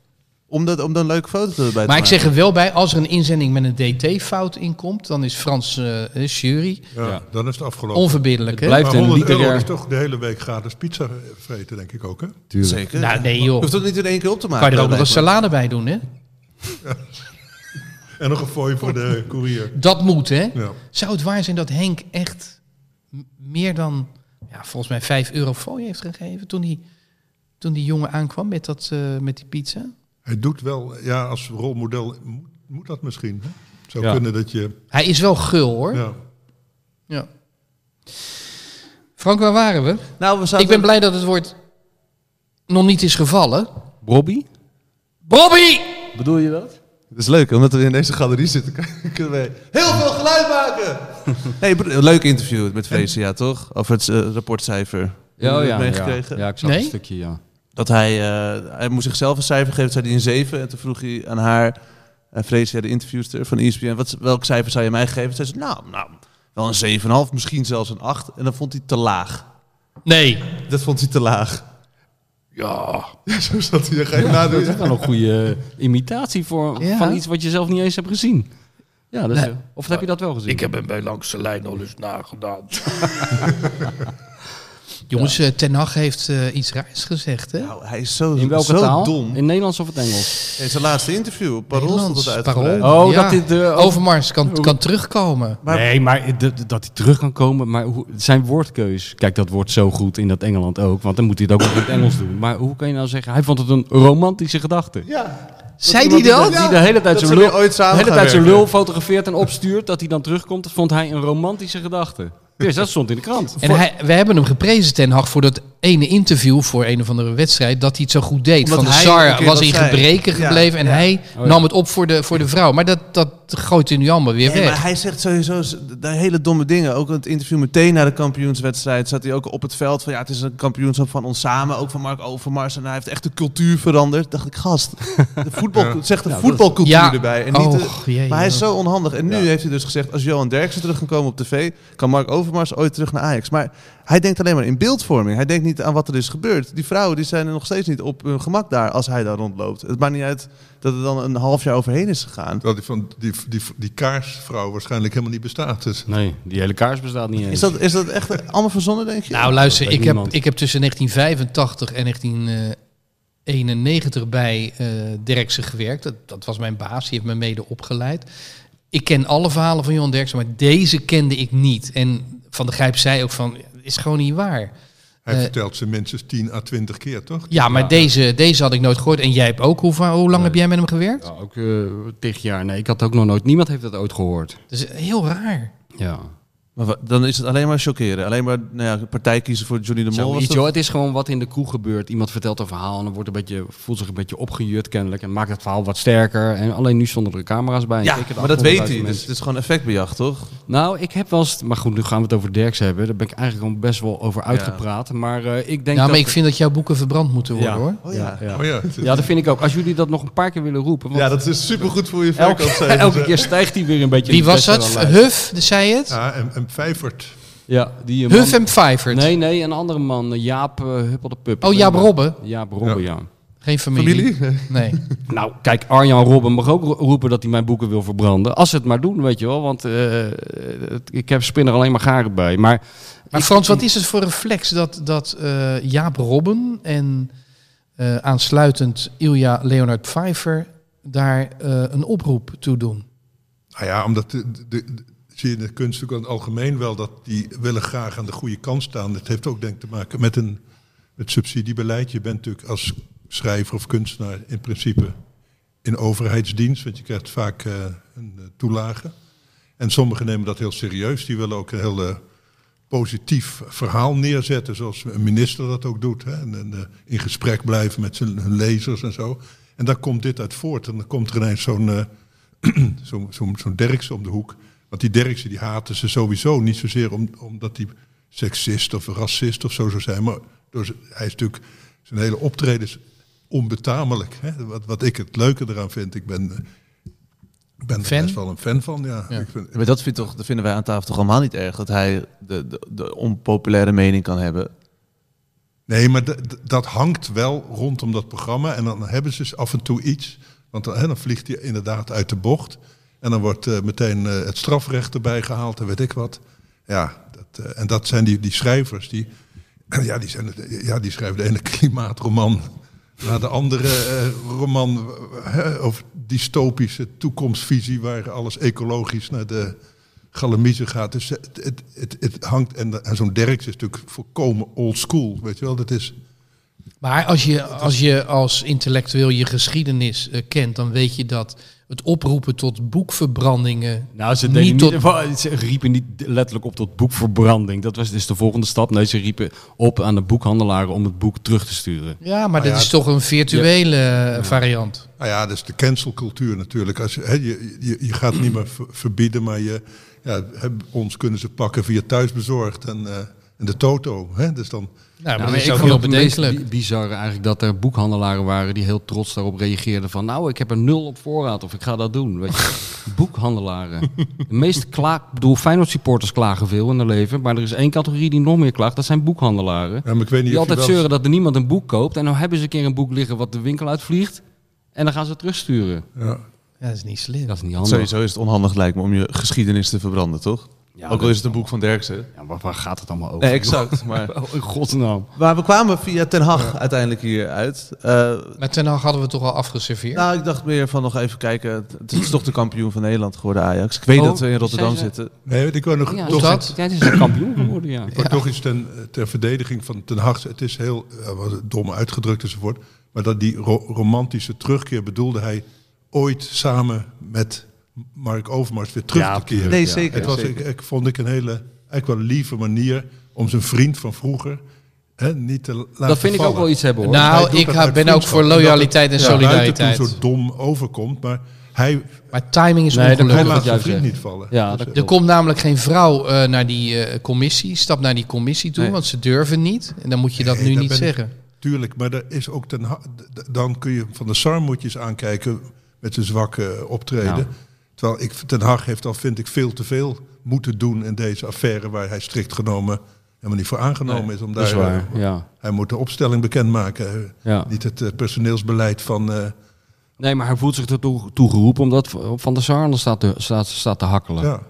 Speaker 2: Om, dat, om dan leuke foto's erbij te maken.
Speaker 3: Maar ik zeg er wel bij, als er een inzending met een DT-fout inkomt... dan is Frans eh, eh, jury
Speaker 5: Ja, Dan is het afgelopen.
Speaker 3: onverbiddelijk, hè?
Speaker 1: Blijft
Speaker 5: Maar
Speaker 1: een
Speaker 5: 100 euro
Speaker 1: literair...
Speaker 5: is toch de hele week gratis pizza vreten, denk ik ook. Hè?
Speaker 2: Zeker.
Speaker 3: Nou, nee
Speaker 2: Je
Speaker 3: joh.
Speaker 2: hoeft dat niet in één keer op te maken.
Speaker 3: Kan je er ook nog een
Speaker 2: lijkt me.
Speaker 3: salade bij doen, hè?
Speaker 5: En nog een fooi voor de koerier.
Speaker 3: Dat moet, hè?
Speaker 5: Ja.
Speaker 3: Zou het waar zijn dat Henk echt m- meer dan... Ja, volgens mij 5 euro fooi heeft gegeven toen die, toen die jongen aankwam met, dat, eh, met die pizza?
Speaker 5: Hij doet wel, ja, als rolmodel moet, moet dat misschien. Hè? Het Zou
Speaker 1: Ja.
Speaker 5: kunnen dat je.
Speaker 3: Hij is wel gul, hoor.
Speaker 5: Ja.
Speaker 3: Ja. Frank, waar waren we?
Speaker 2: Nou, we
Speaker 3: Ik
Speaker 2: zouden...
Speaker 3: ben blij dat het woord nog niet is gevallen.
Speaker 1: Robbie?
Speaker 3: Bobby!
Speaker 1: Bedoel je dat?
Speaker 2: Dat is leuk, omdat we in deze galerie zitten, kunnen we heel veel geluid maken. Nee, br- een leuk interview met Freesia, toch? Over het eh, rapportcijfer.
Speaker 1: Ja, oh, ja, ja.
Speaker 2: Meegekregen.
Speaker 1: ja, ik zag
Speaker 3: Nee?
Speaker 1: een stukje, ja.
Speaker 2: Dat hij, eh, hij moest zichzelf een cijfer geven, zei hij een 7. En toen vroeg hij aan haar, en Freesia, de interviewster van E ESPN, wat, welk cijfer zou je mij geven? Zei ze, nou, nou, wel een 7,5, misschien zelfs een 8. En dat vond hij te laag.
Speaker 3: Nee.
Speaker 2: Dat vond hij te laag.
Speaker 5: Ja. zo zat hij er geen
Speaker 1: Dat
Speaker 5: nadeel.
Speaker 1: is wel een goede eh, imitatie voor,
Speaker 3: Ja.
Speaker 1: van iets wat je zelf niet eens hebt gezien. Ja, dat is,
Speaker 3: Nee.
Speaker 1: Of heb je dat wel gezien?
Speaker 6: Ik heb hem bij langs de lijn al eens nagedaan.
Speaker 3: Jongens, eh, Ten Hag heeft eh, iets raars gezegd, hè?
Speaker 2: Nou, hij is zo,
Speaker 1: In welke
Speaker 2: zo
Speaker 1: taal?
Speaker 2: dom.
Speaker 1: In Nederlands of het Engels?
Speaker 2: In zijn laatste interview, op Parool stond het
Speaker 3: Nederlands,
Speaker 2: uitgebreid.
Speaker 3: Parool.
Speaker 1: Oh,
Speaker 3: Ja.
Speaker 1: dat dit... eh, over-
Speaker 3: Overmars kan, kan terugkomen.
Speaker 2: Maar-
Speaker 1: nee, maar dat, dat hij terug kan komen. Maar hoe, zijn woordkeus. Kijk, dat wordt zo goed in dat Engeland ook. Want dan moet hij het ook in het Engels doen. Maar hoe kan je nou zeggen... Hij vond het een romantische gedachte.
Speaker 2: Ja,
Speaker 3: Zei die
Speaker 1: Dat
Speaker 3: dat?
Speaker 1: die de hele tijd
Speaker 2: dat
Speaker 1: zijn lul,
Speaker 2: ze weer ooit samen
Speaker 1: de hele
Speaker 2: gaan
Speaker 1: tijd zijn
Speaker 2: werken.
Speaker 1: lul fotografeert en opstuurt. Dat hij dan terugkomt. Dat vond hij een romantische gedachte. Dus dat stond in de krant.
Speaker 3: En hij, we hebben hem geprezen, Ten Hag, voor dat ene interview voor een of andere wedstrijd, dat hij het zo goed deed.
Speaker 2: Omdat
Speaker 3: Van de
Speaker 2: hij een
Speaker 3: Sar
Speaker 2: keer
Speaker 3: was
Speaker 2: dat
Speaker 3: in
Speaker 2: zei.
Speaker 3: gebreken
Speaker 2: Ja,
Speaker 3: gebleven en
Speaker 2: ja.
Speaker 3: hij
Speaker 1: Oh, ja.
Speaker 3: nam het op voor de, voor de vrouw. Maar dat, dat gooit hij nu allemaal weer
Speaker 2: Nee,
Speaker 3: weg.
Speaker 2: maar hij zegt sowieso z- de hele domme dingen. Ook in het interview meteen na de kampioenswedstrijd zat hij ook op het veld van ja, het is een kampioenschap van ons samen, ook van Mark Overmars. En hij heeft echt de cultuur veranderd. Dacht ik, gast, de voetbal, zegt de voetbalcultuur
Speaker 3: Ja.
Speaker 2: erbij. En niet de-
Speaker 3: Och, jee,
Speaker 2: maar hij is
Speaker 3: joh.
Speaker 2: zo onhandig. En nu heeft hij dus gezegd, als Johan Derksen terug kan komen op tv, kan Mark Overmars ooit terug naar Ajax. Maar hij denkt alleen maar in beeldvorming. Hij denkt niet aan wat er is gebeurd. Die vrouwen die zijn er nog steeds niet op hun gemak daar als hij daar rondloopt. Het maakt niet uit dat er dan een half jaar overheen is gegaan.
Speaker 5: Terwijl die, van, die, die, die kaarsvrouw waarschijnlijk helemaal niet bestaat. Dus
Speaker 1: Nee, die hele kaars bestaat niet eens.
Speaker 2: Is dat, is dat echt allemaal verzonnen, denk je?
Speaker 3: Nou, luister,
Speaker 1: weet
Speaker 3: ik heb,
Speaker 1: niemand.
Speaker 3: ik heb tussen 1985 en 1991 bij eh Derksen gewerkt. Dat, dat was mijn baas, die heeft me mede opgeleid. Ik ken alle verhalen van Johan Derksen, maar deze kende ik niet. En Van der Grijp zei ook van, is gewoon niet waar.
Speaker 5: hij
Speaker 3: Eh.
Speaker 5: vertelt ze minstens 10 à 20 keer, toch?
Speaker 3: Ja, maar Deze, deze had ik nooit gehoord. En jij hebt ook, hoe, va- hoe lang heb jij met hem gewerkt?
Speaker 1: Ja, ook eh tig jaar. Nee, ik had ook nog nooit. Niemand heeft dat ooit gehoord.
Speaker 3: Dus heel raar.
Speaker 1: Ja.
Speaker 2: Maar wa- dan is het alleen maar chockeren. Alleen maar nou ja, partij kiezen voor Johnny de Mol. Was
Speaker 1: Zoiets,
Speaker 2: dat-
Speaker 1: joh. Het is gewoon wat in de kroeg gebeurt. Iemand vertelt een verhaal en dan wordt een beetje, voelt zich een beetje opgejut kennelijk. En maakt het verhaal wat sterker. En alleen nu stonden er camera's bij. en
Speaker 2: ja,
Speaker 1: keken er
Speaker 2: maar dat weet
Speaker 1: 800.000
Speaker 2: hij. Dus
Speaker 1: mensen.
Speaker 2: het is gewoon effectbejacht, toch?
Speaker 1: Nou, ik heb wel eens... Maar goed, nu gaan we het over Derks hebben. Daar ben ik eigenlijk al best wel over uitgepraat. Maar eh, ik denk
Speaker 3: Ja, Nou, maar
Speaker 1: dat...
Speaker 3: ik vind dat jouw boeken verbrand moeten worden,
Speaker 1: Ja.
Speaker 3: hoor.
Speaker 2: Oh ja.
Speaker 1: ja.
Speaker 5: Oh ja, het is-
Speaker 1: Ja, dat vind ik ook. Als jullie dat nog een paar keer willen roepen. Want
Speaker 2: dat is supergoed voor je
Speaker 1: elke, elke keer stijgt hij weer een beetje.
Speaker 3: Wie
Speaker 1: in de
Speaker 3: was dat?
Speaker 1: bestsellerlijst.
Speaker 3: Huff, zei het?
Speaker 5: Ja, en, en Vijvert.
Speaker 1: Ja, die een man-
Speaker 3: Huff en Pfeiffer.
Speaker 1: Nee, nee, een andere man. Jaap eh, Huppel de Pup.
Speaker 3: Oh, Jaap Robben.
Speaker 1: Jaap Robben, ja.
Speaker 3: Geen familie.
Speaker 2: Familie?
Speaker 3: Nee.
Speaker 1: Nou, kijk, Arjan Robben mag ook ro- roepen dat hij mijn boeken wil verbranden. Als ze het maar doen, weet je wel. Want eh, het- ik heb spinner alleen maar garen bij. Maar,
Speaker 3: Maar Frans, wat is het voor reflex dat, dat eh, Jaap Robben en eh, aansluitend Ilja Leonard Pfeiffer daar eh, een oproep toe doen?
Speaker 5: Nou ja, omdat de, de, de- zie je in de kunst ook in het algemeen wel dat die willen graag aan de goede kant staan. Dat heeft ook denk ik te maken met een met subsidiebeleid. Je bent natuurlijk als schrijver of kunstenaar in principe in overheidsdienst, want je krijgt vaak eh, een eh, toelage. En sommigen nemen dat heel serieus. Die willen ook een heel eh, positief verhaal neerzetten, zoals een minister dat ook doet. Hè? En, en, eh, in gesprek blijven met zijn hun lezers en zo. En daar komt dit uit voort. En dan komt er ineens zo'n eh, zo'n zo'n zo'n Derksen om de hoek. Want die Derksen die haten ze sowieso niet zozeer om, omdat hij seksist of racist of zo zou zijn. Maar door zijn- hij is natuurlijk zijn hele optreden is onbetamelijk. Hè? Wat, wat ik het leuke eraan vind. Ik ben, eh, ik ben er
Speaker 3: Fan?
Speaker 5: best wel een fan van. Ja.
Speaker 3: Ja.
Speaker 5: Ik vind,
Speaker 2: Maar dat, vindt toch, dat vinden wij aan tafel toch allemaal niet erg? Dat hij de, de, de onpopulaire mening kan hebben.
Speaker 5: Nee, maar d- d- dat hangt wel rondom dat programma. En dan hebben ze dus af en toe iets. Want dan, hè, dan vliegt hij inderdaad uit de bocht. En dan wordt eh, meteen eh, het strafrecht erbij gehaald en weet ik wat. Ja, dat, eh, en dat zijn die, die schrijvers. Die, ja, die zijn, het- ja, die schrijven de ene klimaatroman naar de andere eh, roman. hè, over dystopische toekomstvisie waar alles ecologisch naar de galamiezen gaat. Dus het, het, het, het hangt. En, en zo'n Derks is natuurlijk volkomen old school. Weet je wel, dat is.
Speaker 3: Maar als je als, je als intellectueel je geschiedenis eh, kent, dan weet je dat het oproepen tot boekverbrandingen.
Speaker 1: nou, ze,
Speaker 3: Niet
Speaker 1: deden niet
Speaker 3: tot-
Speaker 1: wa- ze riepen niet letterlijk op tot boekverbranding. Dat was dus de volgende stap. Nee, ze riepen op aan de boekhandelaren om het boek terug te sturen.
Speaker 3: Ja, maar
Speaker 5: Ah,
Speaker 3: dat
Speaker 5: ja,
Speaker 3: is toch een virtuele eh, variant.
Speaker 5: Nou ja, dat is de cancelcultuur natuurlijk. Als, je- hè, je, je, je gaat het niet meer ver- verbieden, maar je, ja, hè, ons kunnen ze pakken via thuisbezorgd en, eh, en de toto. Hè? Dus dan,
Speaker 3: Nou, maar
Speaker 1: Nou,
Speaker 3: dat is
Speaker 1: ik
Speaker 3: ook
Speaker 1: vond
Speaker 3: heel
Speaker 1: het meest
Speaker 3: bedenkelijk.
Speaker 1: bi- bizar eigenlijk dat er boekhandelaren waren die heel trots daarop reageerden van nou ik heb er nul op voorraad of ik ga dat doen. Weet je. boekhandelaren. De meeste klaag, ik bedoel Feyenoord supporters klagen veel in hun leven, maar er is één categorie die nog meer klaagt, dat zijn boekhandelaren.
Speaker 5: ja, maar ik weet niet
Speaker 1: Die
Speaker 5: of je
Speaker 1: altijd
Speaker 5: wel eens-
Speaker 1: zeuren dat er niemand een boek koopt en nou hebben ze een keer een boek liggen wat de winkel uitvliegt en dan gaan ze het terugsturen.
Speaker 5: Ja.
Speaker 3: Ja, dat is niet slim.
Speaker 1: Dat is niet handig.
Speaker 2: Sowieso is het onhandig lijkt me om je geschiedenis te verbranden, toch?
Speaker 1: Ja,
Speaker 2: Ook al
Speaker 1: dat-
Speaker 2: is het een boek van Derksen.
Speaker 1: Ja, waar, waar gaat het allemaal over?
Speaker 2: Nee, exact. Maar,
Speaker 1: Oh, in godsnaam.
Speaker 2: maar we kwamen via Ten Hag uiteindelijk hier uit. Eh,
Speaker 3: Maar ten Hag hadden we toch al afgeserveerd.
Speaker 2: nou, ik dacht meer van nog even kijken. Het is toch de kampioen van Nederland geworden, Ajax. Ik weet
Speaker 1: Oh,
Speaker 2: dat we in Rotterdam
Speaker 1: zijn ze-
Speaker 2: zitten.
Speaker 5: Nee, ik wil nog
Speaker 1: Ja,
Speaker 5: toch
Speaker 3: dat?
Speaker 1: Ja, het is een kampioen geworden, ja.
Speaker 5: Maar toch is ten, eh, ter verdediging van Ten Hag, het is heel eh, wat dom uitgedrukt enzovoort, maar dat die ro- romantische terugkeer bedoelde hij ooit samen met Mark Overmars weer terug
Speaker 1: Ja,
Speaker 5: te keren.
Speaker 2: Nee, zeker.
Speaker 5: het was,
Speaker 2: zeker.
Speaker 5: ik, ik vond ik een hele, eigenlijk wel lieve manier om zijn vriend van vroeger hè, niet te laten
Speaker 1: Dat vind ik ook
Speaker 5: vallen.
Speaker 1: wel iets hebben hoor.
Speaker 5: Hij
Speaker 3: nou,
Speaker 5: doet
Speaker 3: ik
Speaker 5: dat
Speaker 3: ha-
Speaker 5: uit
Speaker 3: ben ook
Speaker 5: vriendschap.
Speaker 3: voor
Speaker 5: En dat het
Speaker 3: loyaliteit en
Speaker 5: naar
Speaker 3: solidariteit.
Speaker 5: buiten toe zo dom overkomt, maar hij,
Speaker 3: Maar timing is
Speaker 1: Nee, dat
Speaker 5: hij
Speaker 3: ongelukkig.
Speaker 1: wat
Speaker 5: laat
Speaker 1: jij
Speaker 5: zijn vriend
Speaker 1: zegt.
Speaker 5: niet vallen.
Speaker 1: ja,
Speaker 5: Dus,
Speaker 1: dat
Speaker 3: Er komt namelijk geen vrouw eh, naar die eh, commissie, stap naar die commissie toe,
Speaker 2: Nee.
Speaker 3: want ze durven niet. En dan moet je dat
Speaker 5: Nee,
Speaker 3: nu
Speaker 5: daar
Speaker 3: niet
Speaker 5: ben ik-
Speaker 3: zeggen.
Speaker 5: Tuurlijk, maar er is ook ten, Ha- d- d- dan kun je van de Sar moet je eens aankijken met zijn zwakke optreden.
Speaker 1: Ja.
Speaker 5: Terwijl ik, Ten Hag heeft al, vind ik, veel te veel moeten doen in deze affaire... waar hij strikt genomen helemaal niet voor aangenomen is. Om
Speaker 1: dat is
Speaker 5: daar, eh,
Speaker 1: waar. Ja.
Speaker 5: Hij moet de opstelling bekendmaken.
Speaker 1: Ja.
Speaker 5: Niet het eh, personeelsbeleid van... eh,
Speaker 1: Nee, maar hij voelt zich ertoe toe geroepen omdat Van der Sar anders staat te, staat, staat te hakkelen.
Speaker 5: ja.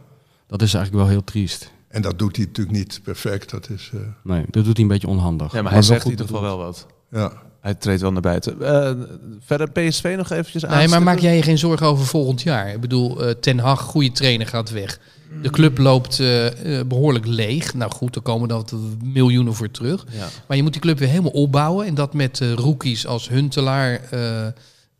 Speaker 1: Dat is eigenlijk wel heel triest.
Speaker 5: En dat doet hij natuurlijk niet perfect. Dat is, eh,
Speaker 1: Nee, dat doet hij een beetje onhandig.
Speaker 2: Ja, maar
Speaker 1: wel
Speaker 2: hij zegt in
Speaker 1: goed
Speaker 2: ieder geval wel wat.
Speaker 5: ja.
Speaker 2: Hij treedt wel naar buiten. Eh, verder PSV nog eventjes aan.
Speaker 3: Nee, maar maak jij je geen zorgen over volgend jaar? Ik bedoel, eh, Ten Hag, goede trainer, gaat weg. De club loopt eh, eh, behoorlijk leeg. Nou goed, er komen dan miljoenen voor terug.
Speaker 2: Ja.
Speaker 3: Maar je moet die club weer helemaal opbouwen. En dat met eh, rookies als Huntelaar eh,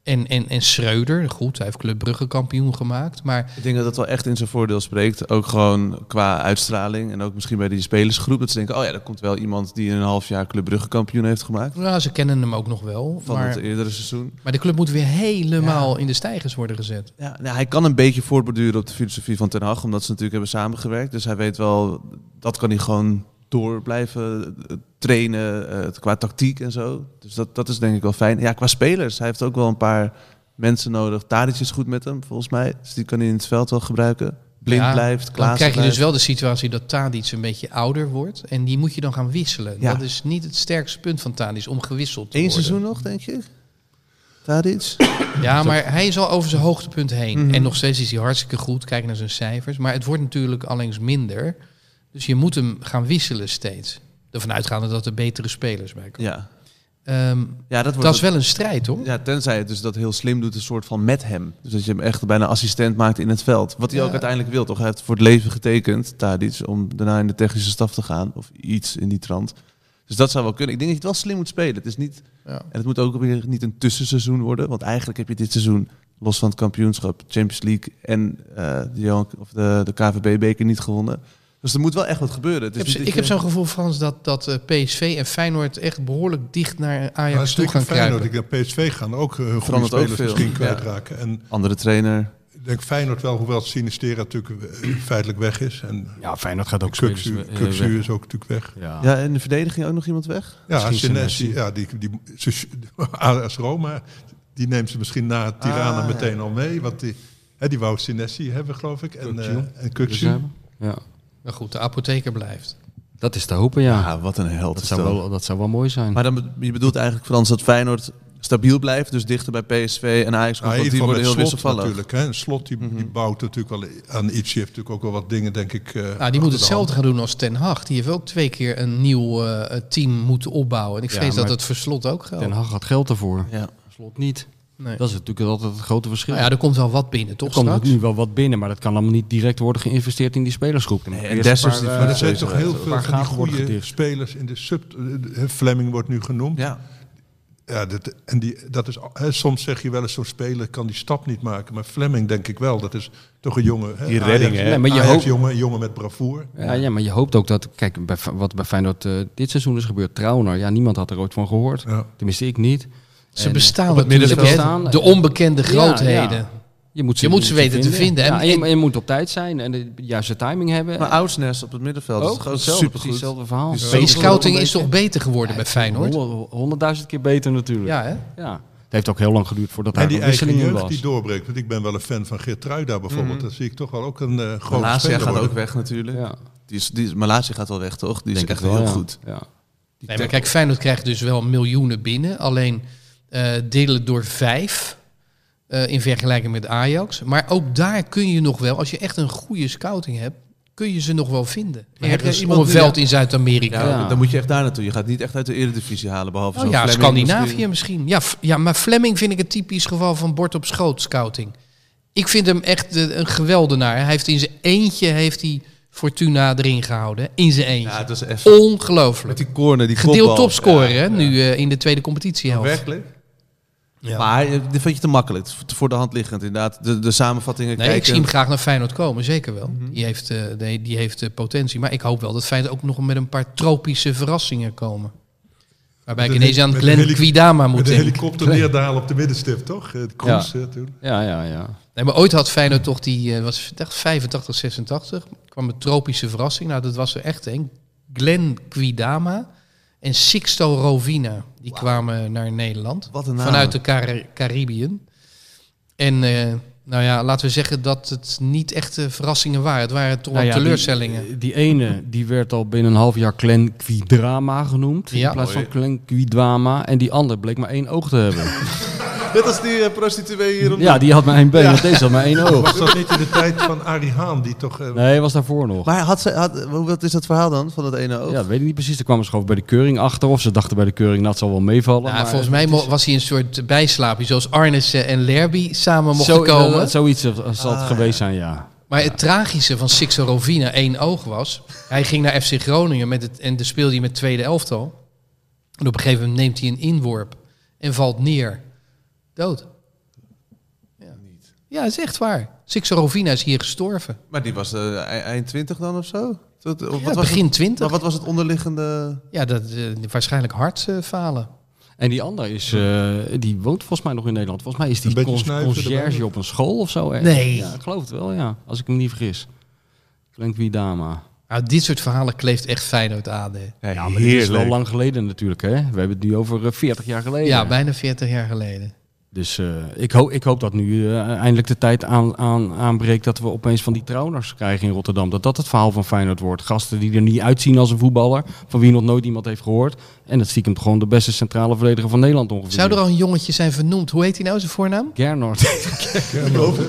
Speaker 3: en, en, en Schreuder. Goed, hij heeft Club Brugge kampioen gemaakt. Maar
Speaker 2: Ik denk dat dat wel echt in zijn voordeel spreekt. Ook gewoon qua uitstraling. En ook misschien bij die spelersgroep. Dat ze denken, oh ja, er komt wel iemand die in een half jaar Club Brugge kampioen heeft gemaakt.
Speaker 3: nou, ze kennen hem ook nog wel.
Speaker 2: Van
Speaker 3: Maar,
Speaker 2: het eerdere seizoen.
Speaker 3: maar de club moet weer helemaal in de stijgers worden gezet.
Speaker 2: Ja, nou, hij kan een beetje voortborduren op de filosofie van Ten Hag. Omdat ze natuurlijk hebben samengewerkt. Dus hij weet wel, dat kan hij gewoon door blijven eh, trainen. eh, qua tactiek en zo. Dus dat, dat is denk ik wel fijn. Ja, qua spelers. Hij heeft ook wel een paar mensen nodig. Tadic is goed met hem, volgens mij. Dus die kan hij in het veld wel gebruiken. Blind
Speaker 3: Ja,
Speaker 2: blijft,
Speaker 3: Dan
Speaker 2: Klaas
Speaker 3: krijg je
Speaker 2: blijft.
Speaker 3: dus wel de situatie dat Tadic een beetje ouder wordt. En die moet je dan gaan wisselen.
Speaker 2: Ja.
Speaker 3: Dat is niet het sterkste punt van Tadic, om gewisseld te
Speaker 2: Eén
Speaker 3: worden.
Speaker 2: seizoen nog, denk je? Tadic?
Speaker 3: Ja, maar hij is al over zijn hoogtepunt heen.
Speaker 2: Mhm.
Speaker 3: En nog steeds is hij hartstikke goed. Kijk naar zijn cijfers. Maar het wordt natuurlijk allengs minder. Dus je moet hem gaan wisselen steeds. Ervan uitgaande dat er betere spelers bij komen.
Speaker 2: Ja.
Speaker 3: Ehm,
Speaker 2: ja, dat wordt
Speaker 3: dat is wel een strijd, hoor.
Speaker 2: Ja, tenzij het dus dat heel slim doet, een soort van met hem. Dus dat je hem echt bijna assistent maakt in het veld. Wat hij
Speaker 3: Ja.
Speaker 2: ook uiteindelijk wil, toch? Hij heeft voor het leven getekend, Tadic, om daarna in de technische staf te gaan. Of iets in die trant. Dus dat zou wel kunnen. Ik denk dat je het wel slim moet spelen. Het is niet,
Speaker 3: Ja.
Speaker 2: En het moet ook weer niet een tussenseizoen worden. Want eigenlijk heb je dit seizoen, los van het kampioenschap, Champions League en eh, de, Johan- of de, de KVB-beker niet gewonnen. Dus er moet wel echt wat gebeuren. Het
Speaker 3: Ik
Speaker 2: is
Speaker 3: heb,
Speaker 2: dus niet
Speaker 3: zo-
Speaker 2: dat
Speaker 3: ik heb
Speaker 2: je-
Speaker 3: zo'n gevoel, Frans, dat, dat eh, PSV en Feyenoord echt behoorlijk dicht naar
Speaker 5: Maar
Speaker 3: Ajax toe
Speaker 5: zeker
Speaker 3: gaan
Speaker 5: Feyenoord.
Speaker 3: kruipen.
Speaker 5: Ik denk PSV gaan ook eh, goede
Speaker 2: Verandert ook
Speaker 5: spelers
Speaker 2: veel.
Speaker 5: misschien
Speaker 2: Ja.
Speaker 5: kwijtraken. En
Speaker 2: Andere trainer.
Speaker 5: ik denk Feyenoord wel, hoewel Sinistera natuurlijk eh, feitelijk weg is. En
Speaker 1: Ja, Feyenoord gaat ook spelers,
Speaker 5: Kuksu
Speaker 1: eh,
Speaker 5: Kuksu
Speaker 1: weg.
Speaker 5: is ook natuurlijk weg.
Speaker 1: Ja.
Speaker 2: Ja, en de verdediging ook nog iemand weg?
Speaker 5: Ja,
Speaker 1: Misschien
Speaker 5: Senesi,
Speaker 1: Senesi.
Speaker 5: ja, die, die, ze- AS Roma, die neemt ze misschien na Tirana
Speaker 2: Ah,
Speaker 5: meteen al mee. Want die, hè, die wou Senesi hebben, geloof ik. En,
Speaker 1: Kukzu.
Speaker 5: eh, en
Speaker 1: Dus
Speaker 5: Kuksu.
Speaker 1: ja. Ja.
Speaker 3: Maar goed, de apotheker blijft.
Speaker 1: Dat is te hopen, ja.
Speaker 2: Ah, wat een held.
Speaker 1: dat,
Speaker 2: is
Speaker 1: zou
Speaker 2: dat.
Speaker 1: wel, dat zou wel mooi zijn.
Speaker 2: Maar dan, be- je bedoelt eigenlijk, Frans, dat Feyenoord stabiel blijft. Dus dichter bij PSV en Ajax.
Speaker 5: Nou,
Speaker 2: komt
Speaker 5: in
Speaker 2: want
Speaker 5: ieder
Speaker 2: die
Speaker 5: geval met
Speaker 2: worden heel
Speaker 5: Slot
Speaker 2: wisselvallig.
Speaker 5: natuurlijk. Hè. En Slot die, die bouwt natuurlijk wel aan iets. Die heeft natuurlijk ook wel wat dingen, denk ik. eh,
Speaker 3: Nou, die moet
Speaker 5: achter de hand.
Speaker 3: hetzelfde gaan doen als Ten Hag. Die heeft ook twee keer een nieuw eh, team moeten opbouwen. En ik
Speaker 1: Ja,
Speaker 3: vrees dat
Speaker 1: maar-
Speaker 3: het verslot ook geldt.
Speaker 1: Ten Hag had geld ervoor.
Speaker 2: Ja.
Speaker 1: Slot niet.
Speaker 3: Nee.
Speaker 1: Dat is natuurlijk altijd het grote verschil.
Speaker 3: Nou ja, er komt wel wat binnen,
Speaker 1: er
Speaker 3: toch
Speaker 1: komt
Speaker 3: straks?
Speaker 1: nu wel wat binnen, maar dat kan allemaal niet direct worden geïnvesteerd in die spelersgroep. Dan moet
Speaker 2: Nee,
Speaker 1: je
Speaker 2: en
Speaker 1: eerst een
Speaker 2: Dessers
Speaker 1: paar,
Speaker 2: die
Speaker 1: eh,
Speaker 5: Maar er zijn toch heel
Speaker 1: Een
Speaker 5: veel
Speaker 1: paar
Speaker 5: van die
Speaker 1: gaten worden
Speaker 5: goede
Speaker 1: gedicht.
Speaker 5: spelers in de sub... eh, Fleming wordt nu genoemd.
Speaker 2: Ja.
Speaker 5: Ja, dat, en die, dat is, hè, soms zeg je wel eens zo'n speler kan die stap niet maken. Maar Fleming denk ik wel. Dat is toch een jongen. Hè,
Speaker 2: Die redding,
Speaker 5: Ajax-
Speaker 2: hè?
Speaker 1: Ja, maar je
Speaker 5: Ajax
Speaker 1: hoopt-
Speaker 5: jongen, een jongen met bravoer.
Speaker 1: Ja, ja, maar je hoopt ook dat, kijk, bij, wat bij Feyenoord eh, dit seizoen is gebeurd, Trauner, ja, niemand had er ooit van gehoord.
Speaker 5: Ja.
Speaker 1: Tenminste, ik niet.
Speaker 3: Ze
Speaker 1: En,
Speaker 3: bestaan
Speaker 1: op het
Speaker 3: natuurlijk, hè.
Speaker 1: middenveld.
Speaker 3: De onbekende
Speaker 1: Ja,
Speaker 3: grootheden.
Speaker 1: ja. Je moet ze,
Speaker 3: Je moet ze weten te vinden.
Speaker 1: Ja,
Speaker 3: En-
Speaker 1: en, je,
Speaker 3: en-
Speaker 1: je moet op tijd zijn en de juiste timing hebben.
Speaker 2: Maar
Speaker 1: En
Speaker 2: Oudsnes op het middenveld
Speaker 5: Oh,
Speaker 1: ook
Speaker 2: is gewoon
Speaker 1: hetzelfde,
Speaker 2: supergoed.
Speaker 1: precies hetzelfde verhaal.
Speaker 3: Maar die scouting is toch beter geworden bij Feyenoord?
Speaker 1: Honderd- Honderdduizend keer beter natuurlijk.
Speaker 3: Ja, hè?
Speaker 1: Ja. Het heeft ook heel lang geduurd voordat
Speaker 5: En
Speaker 1: daar
Speaker 5: die
Speaker 1: een
Speaker 5: eigen
Speaker 1: wisseling in
Speaker 5: jeugd
Speaker 1: was.
Speaker 5: die doorbreekt. Want ik ben wel een fan van Geertruida bijvoorbeeld.
Speaker 2: Mm.
Speaker 5: Dat zie ik toch wel ook een eh grote
Speaker 2: Malasia
Speaker 5: speler
Speaker 2: gaat
Speaker 5: worden.
Speaker 2: ook weg natuurlijk.
Speaker 1: Ja,
Speaker 2: Die is, die is, Malasia gaat wel weg, toch? Die is
Speaker 1: denk
Speaker 2: echt
Speaker 1: ik wel,
Speaker 2: heel
Speaker 1: ja.
Speaker 2: goed.
Speaker 1: Ja.
Speaker 3: Nee, maar kijk, Feyenoord krijgt dus wel miljoenen binnen. Alleen eh, delen door vijf eh, in vergelijking met Ajax. Maar ook daar kun je nog wel, als je echt een goede scouting hebt, kun je ze nog wel vinden.
Speaker 2: Maar heb
Speaker 3: Ergens
Speaker 2: je
Speaker 3: op
Speaker 2: iemand
Speaker 3: een
Speaker 2: die-
Speaker 3: veld in Zuid-Amerika.
Speaker 2: Ja,
Speaker 3: Ja, Oh
Speaker 1: Ja.
Speaker 2: Dan moet je echt daar naartoe. Je gaat niet echt uit de eredivisie halen, behalve zo'n
Speaker 3: ja
Speaker 2: Fleming
Speaker 3: Scandinavië
Speaker 2: misschien.
Speaker 3: misschien. Ja, F- ja, maar Fleming vind ik een typisch geval van bord op schoot scouting. Ik vind hem echt eh, een geweldenaar. Hij heeft in zijn eentje heeft hij Fortuna erin gehouden. In zijn
Speaker 2: Ja,
Speaker 3: eentje.
Speaker 2: het was echt... Met
Speaker 3: Ongelooflijk.
Speaker 2: die corner, die
Speaker 3: Gedeeld
Speaker 2: kopbal.
Speaker 3: topscorer
Speaker 2: Ja,
Speaker 3: hè,
Speaker 2: ja.
Speaker 3: nu eh, in de tweede competitiehelft.
Speaker 2: Werkelijk?
Speaker 3: Ja.
Speaker 2: Maar eh, dit vond je te makkelijk. Het is Voor de hand liggend, inderdaad. De, de samenvattingen
Speaker 3: Nee,
Speaker 2: kijken.
Speaker 3: ik zie hem graag naar Feyenoord komen, zeker wel. Die heeft, eh, die, die heeft eh, potentie. Maar ik hoop wel dat Feyenoord ook nog met een paar tropische verrassingen komen. Waarbij ik
Speaker 5: Met een
Speaker 3: ineens
Speaker 5: heli-
Speaker 3: aan
Speaker 5: met een
Speaker 3: Glenn
Speaker 5: heli-
Speaker 3: Quidama moet
Speaker 5: Met de
Speaker 3: denken.
Speaker 5: helikopter neerdalen op de middenstip, toch? Het Kroes eh, toen.
Speaker 1: Ja, ja, ja.
Speaker 3: Nee, maar ooit had Feyenoord toch die, eh, was het echt 85, 86. kwam een tropische verrassing. Nou, dat was er echt één. Glenn Quidama en Sixto Rovina. Die kwamen naar Nederland.
Speaker 2: Wat een naam.
Speaker 3: Vanuit de Car- Caribbean. En eh, nou ja, laten we zeggen dat het niet echt eh, verrassingen waren. Het waren toch wel
Speaker 1: Nou ja,
Speaker 2: Eh,
Speaker 3: teleurstellingen.
Speaker 1: Die, die ene die werd al binnen een half jaar Clan Quidrama genoemd.
Speaker 3: Ja.
Speaker 1: In plaats van Clan Quidwama. En die ander bleek maar één oog te hebben.
Speaker 2: Net als die eh, prostituee hier om de
Speaker 1: ja, die had maar één been. en Deze had maar één oog.
Speaker 5: Was dat niet in de tijd van Arie Haan, die toch... eh,
Speaker 1: Nee, was daarvoor nog.
Speaker 2: Maar had ze, had, hoe- wat is dat verhaal dan van dat ene oog?
Speaker 1: Ja, dat weet ik niet precies. Er kwamen ze gewoon bij de keuring achter. Of ze dachten bij de keuring, dat zal wel meevallen.
Speaker 3: Ja,
Speaker 1: maar
Speaker 3: Nou, volgens mij mo- was hij een soort bijslaapje, zoals Arnissen en Lerby samen mochten
Speaker 1: zo,
Speaker 3: komen.
Speaker 1: Zoiets zal
Speaker 5: Ah,
Speaker 1: het geweest zijn, ja.
Speaker 3: maar het tragische van Sixto Rovina één oog was, hij ging naar FC Groningen met het, en daar speelde hij met tweede elftal. En op een gegeven moment neemt hij een inworp en valt neer. Dood. Ja, ja dat is echt waar. Sixto Rovina is hier gestorven.
Speaker 2: Maar die was eh, e- eind 20 dan of zo? Tot, of
Speaker 3: Ja,
Speaker 2: wat was
Speaker 3: begin
Speaker 2: het-
Speaker 3: 20.
Speaker 2: Maar wat was het onderliggende?
Speaker 3: Ja, dat, eh, waarschijnlijk hartfalen.
Speaker 1: En die ander is, eh, die woont volgens mij nog in Nederland. Volgens mij is
Speaker 5: Een
Speaker 1: die
Speaker 5: beetje
Speaker 1: con-
Speaker 5: snuiven
Speaker 1: conciërge
Speaker 5: erbij.
Speaker 1: op een school of zo. ergens.
Speaker 3: Nee.
Speaker 1: Ja, ik geloof het wel, ja. Als ik me niet vergis. Clan Quidama.
Speaker 3: nou, dit soort verhalen kleeft echt Feyenoord aan. hè.
Speaker 1: Ja, maar dit is wel lang geleden natuurlijk, hè? We hebben het nu over eh, 40 jaar geleden.
Speaker 3: Ja, bijna 40 jaar geleden.
Speaker 1: Dus eh, ik, hoop, ik hoop dat nu eh, eindelijk de tijd aan, aan, aanbreekt dat we opeens van die trouwners krijgen in Rotterdam. Dat dat het verhaal van Feyenoord wordt. Gasten die er niet uitzien als een voetballer, van wie nog nooit iemand heeft gehoord. En dat stiekem gewoon de beste centrale verdediger van Nederland ongeveer.
Speaker 3: Zou er al een jongetje zijn vernoemd? Hoe heet hij nou, zijn voornaam?
Speaker 1: Gernot.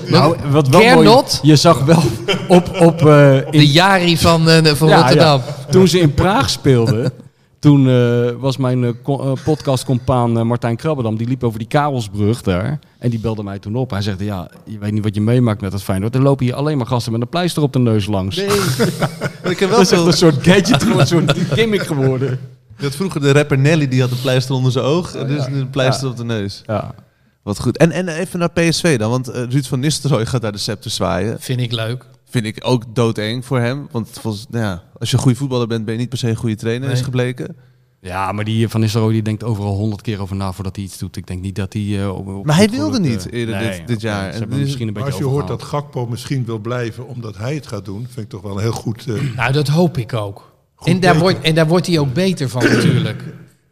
Speaker 3: Nou,
Speaker 1: wat
Speaker 3: Gernot?
Speaker 1: mooi, je zag wel op, op eh, in-
Speaker 3: de Jari van, eh, van
Speaker 1: Ja,
Speaker 3: Rotterdam.
Speaker 1: toen ze in Praag speelden, toen eh, was mijn eh, co- eh, podcastcompaan eh, Martijn Krabbedam, die liep over die Karelsbrug daar. En die belde mij toen op. Hij zegt, ja, je weet niet wat je meemaakt met dat Feyenoord. Er lopen hier alleen maar gasten met een pleister op de neus langs.
Speaker 2: Ik
Speaker 1: dat
Speaker 2: heb wel
Speaker 1: is echt
Speaker 2: veel...
Speaker 1: een soort gadget, gewoon een soort gimmick geworden.
Speaker 2: Dat vroeger de rapper Nelly, die had een pleister onder zijn oog. En dus een pleister op de neus.
Speaker 1: Ja.
Speaker 2: Wat goed. En, en even naar PSV dan, want eh, Ruud van Nistelrooy gaat daar de scepter zwaaien.
Speaker 3: Vind ik leuk.
Speaker 2: Vind ik ook doodeng voor hem. Want volgens, nou ja, als je een goede voetballer bent, ben je niet per se een goede trainer,
Speaker 3: Nee.
Speaker 2: is gebleken.
Speaker 1: ja, maar die eh, Van Nistelrooy die denkt overal honderd keer over na voordat hij iets doet. Ik denk niet dat hij... eh, op- op-
Speaker 2: Maar hij
Speaker 1: op-
Speaker 2: wilde
Speaker 1: eh,
Speaker 2: niet eerder dit- dit
Speaker 1: oké,
Speaker 2: jaar. Dus
Speaker 1: ze
Speaker 2: En
Speaker 1: hebben
Speaker 2: dit
Speaker 1: hem
Speaker 2: is-
Speaker 1: misschien een
Speaker 5: Maar
Speaker 1: beetje
Speaker 5: als je hoort dat
Speaker 1: overgehaald.
Speaker 5: Gakpo misschien wil blijven omdat hij het gaat doen, vind ik toch wel een heel goed. eh,
Speaker 3: Nou, dat hoop ik ook.
Speaker 5: Goed
Speaker 3: En daar,
Speaker 5: beter.
Speaker 3: wordt, en daar wordt hij ook beter van natuurlijk.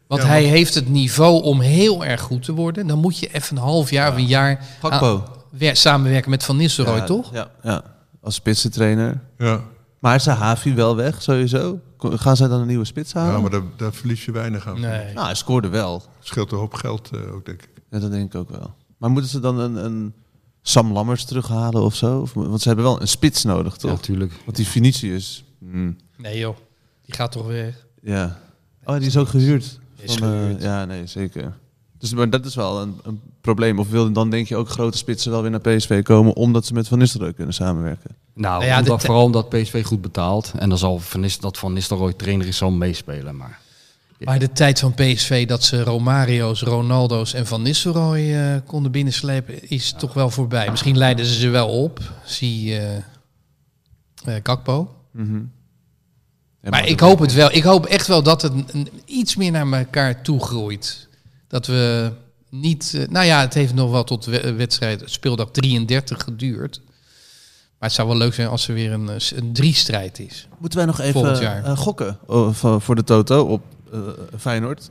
Speaker 3: Want
Speaker 5: Ja,
Speaker 3: hij
Speaker 5: maar-
Speaker 3: heeft het niveau om heel erg goed te worden. Dan moet je even een half jaar of een jaar
Speaker 2: Gakpo.
Speaker 3: aan- wer- samenwerken met Van Nistelrooy,
Speaker 2: Ja,
Speaker 3: toch?
Speaker 2: Ja, ja, als spitsentrainer.
Speaker 5: ja.
Speaker 2: Maar is Havi wel weg, sowieso? Ko- Gaan zij dan een nieuwe spits halen?
Speaker 5: ja, maar daar, daar verlies je weinig aan.
Speaker 3: Nee.
Speaker 2: Nou, hij scoorde wel.
Speaker 5: Het scheelt een hoop geld eh, ook, denk ik.
Speaker 2: Ja, dat denk ik ook wel. Maar moeten ze dan een, een Sam Lammers terughalen of zo? Of- want ze hebben wel een spits nodig,
Speaker 1: Ja,
Speaker 2: toch?
Speaker 1: natuurlijk.
Speaker 2: want die Vinicius... hm,
Speaker 3: nee joh, die gaat toch weer.
Speaker 2: ja. Oh, die is ook gehuurd.
Speaker 3: Is
Speaker 2: Van, eh,
Speaker 3: gehuurd.
Speaker 2: ja, nee, zeker. Dus, maar dat is wel een, een probleem. Of wil dan denk je ook grote spitsen wel weer naar PSV komen... omdat ze met Van Nistelrooy kunnen samenwerken?
Speaker 1: Nou,
Speaker 3: Nou ja,
Speaker 1: omdat-
Speaker 3: dit-
Speaker 1: vooral omdat PSV goed betaalt. En dan zal Van Nis- dat Van Nistelrooy trainer is zal meespelen. Maar
Speaker 3: Maar de tijd van PSV dat ze Romario's, Ronaldo's en Van Nistelrooy eh, konden binnenslepen is toch wel voorbij. Misschien leiden ze ze wel op. Zie eh eh, Kakpo.
Speaker 2: En
Speaker 3: Maar ik hoop het wel. Ik hoop echt wel dat het een- een- iets meer naar elkaar toe groeit. Dat we niet. eh, Nou ja, het heeft nog wel tot we- eh, wedstrijd speeldag 33 geduurd. Maar het zou wel leuk zijn als er weer een, eh, s- een driestrijd is.
Speaker 2: Moeten wij nog even
Speaker 3: Volgend jaar.
Speaker 2: eh, gokken oh, van- voor de Toto op eh, Feyenoord?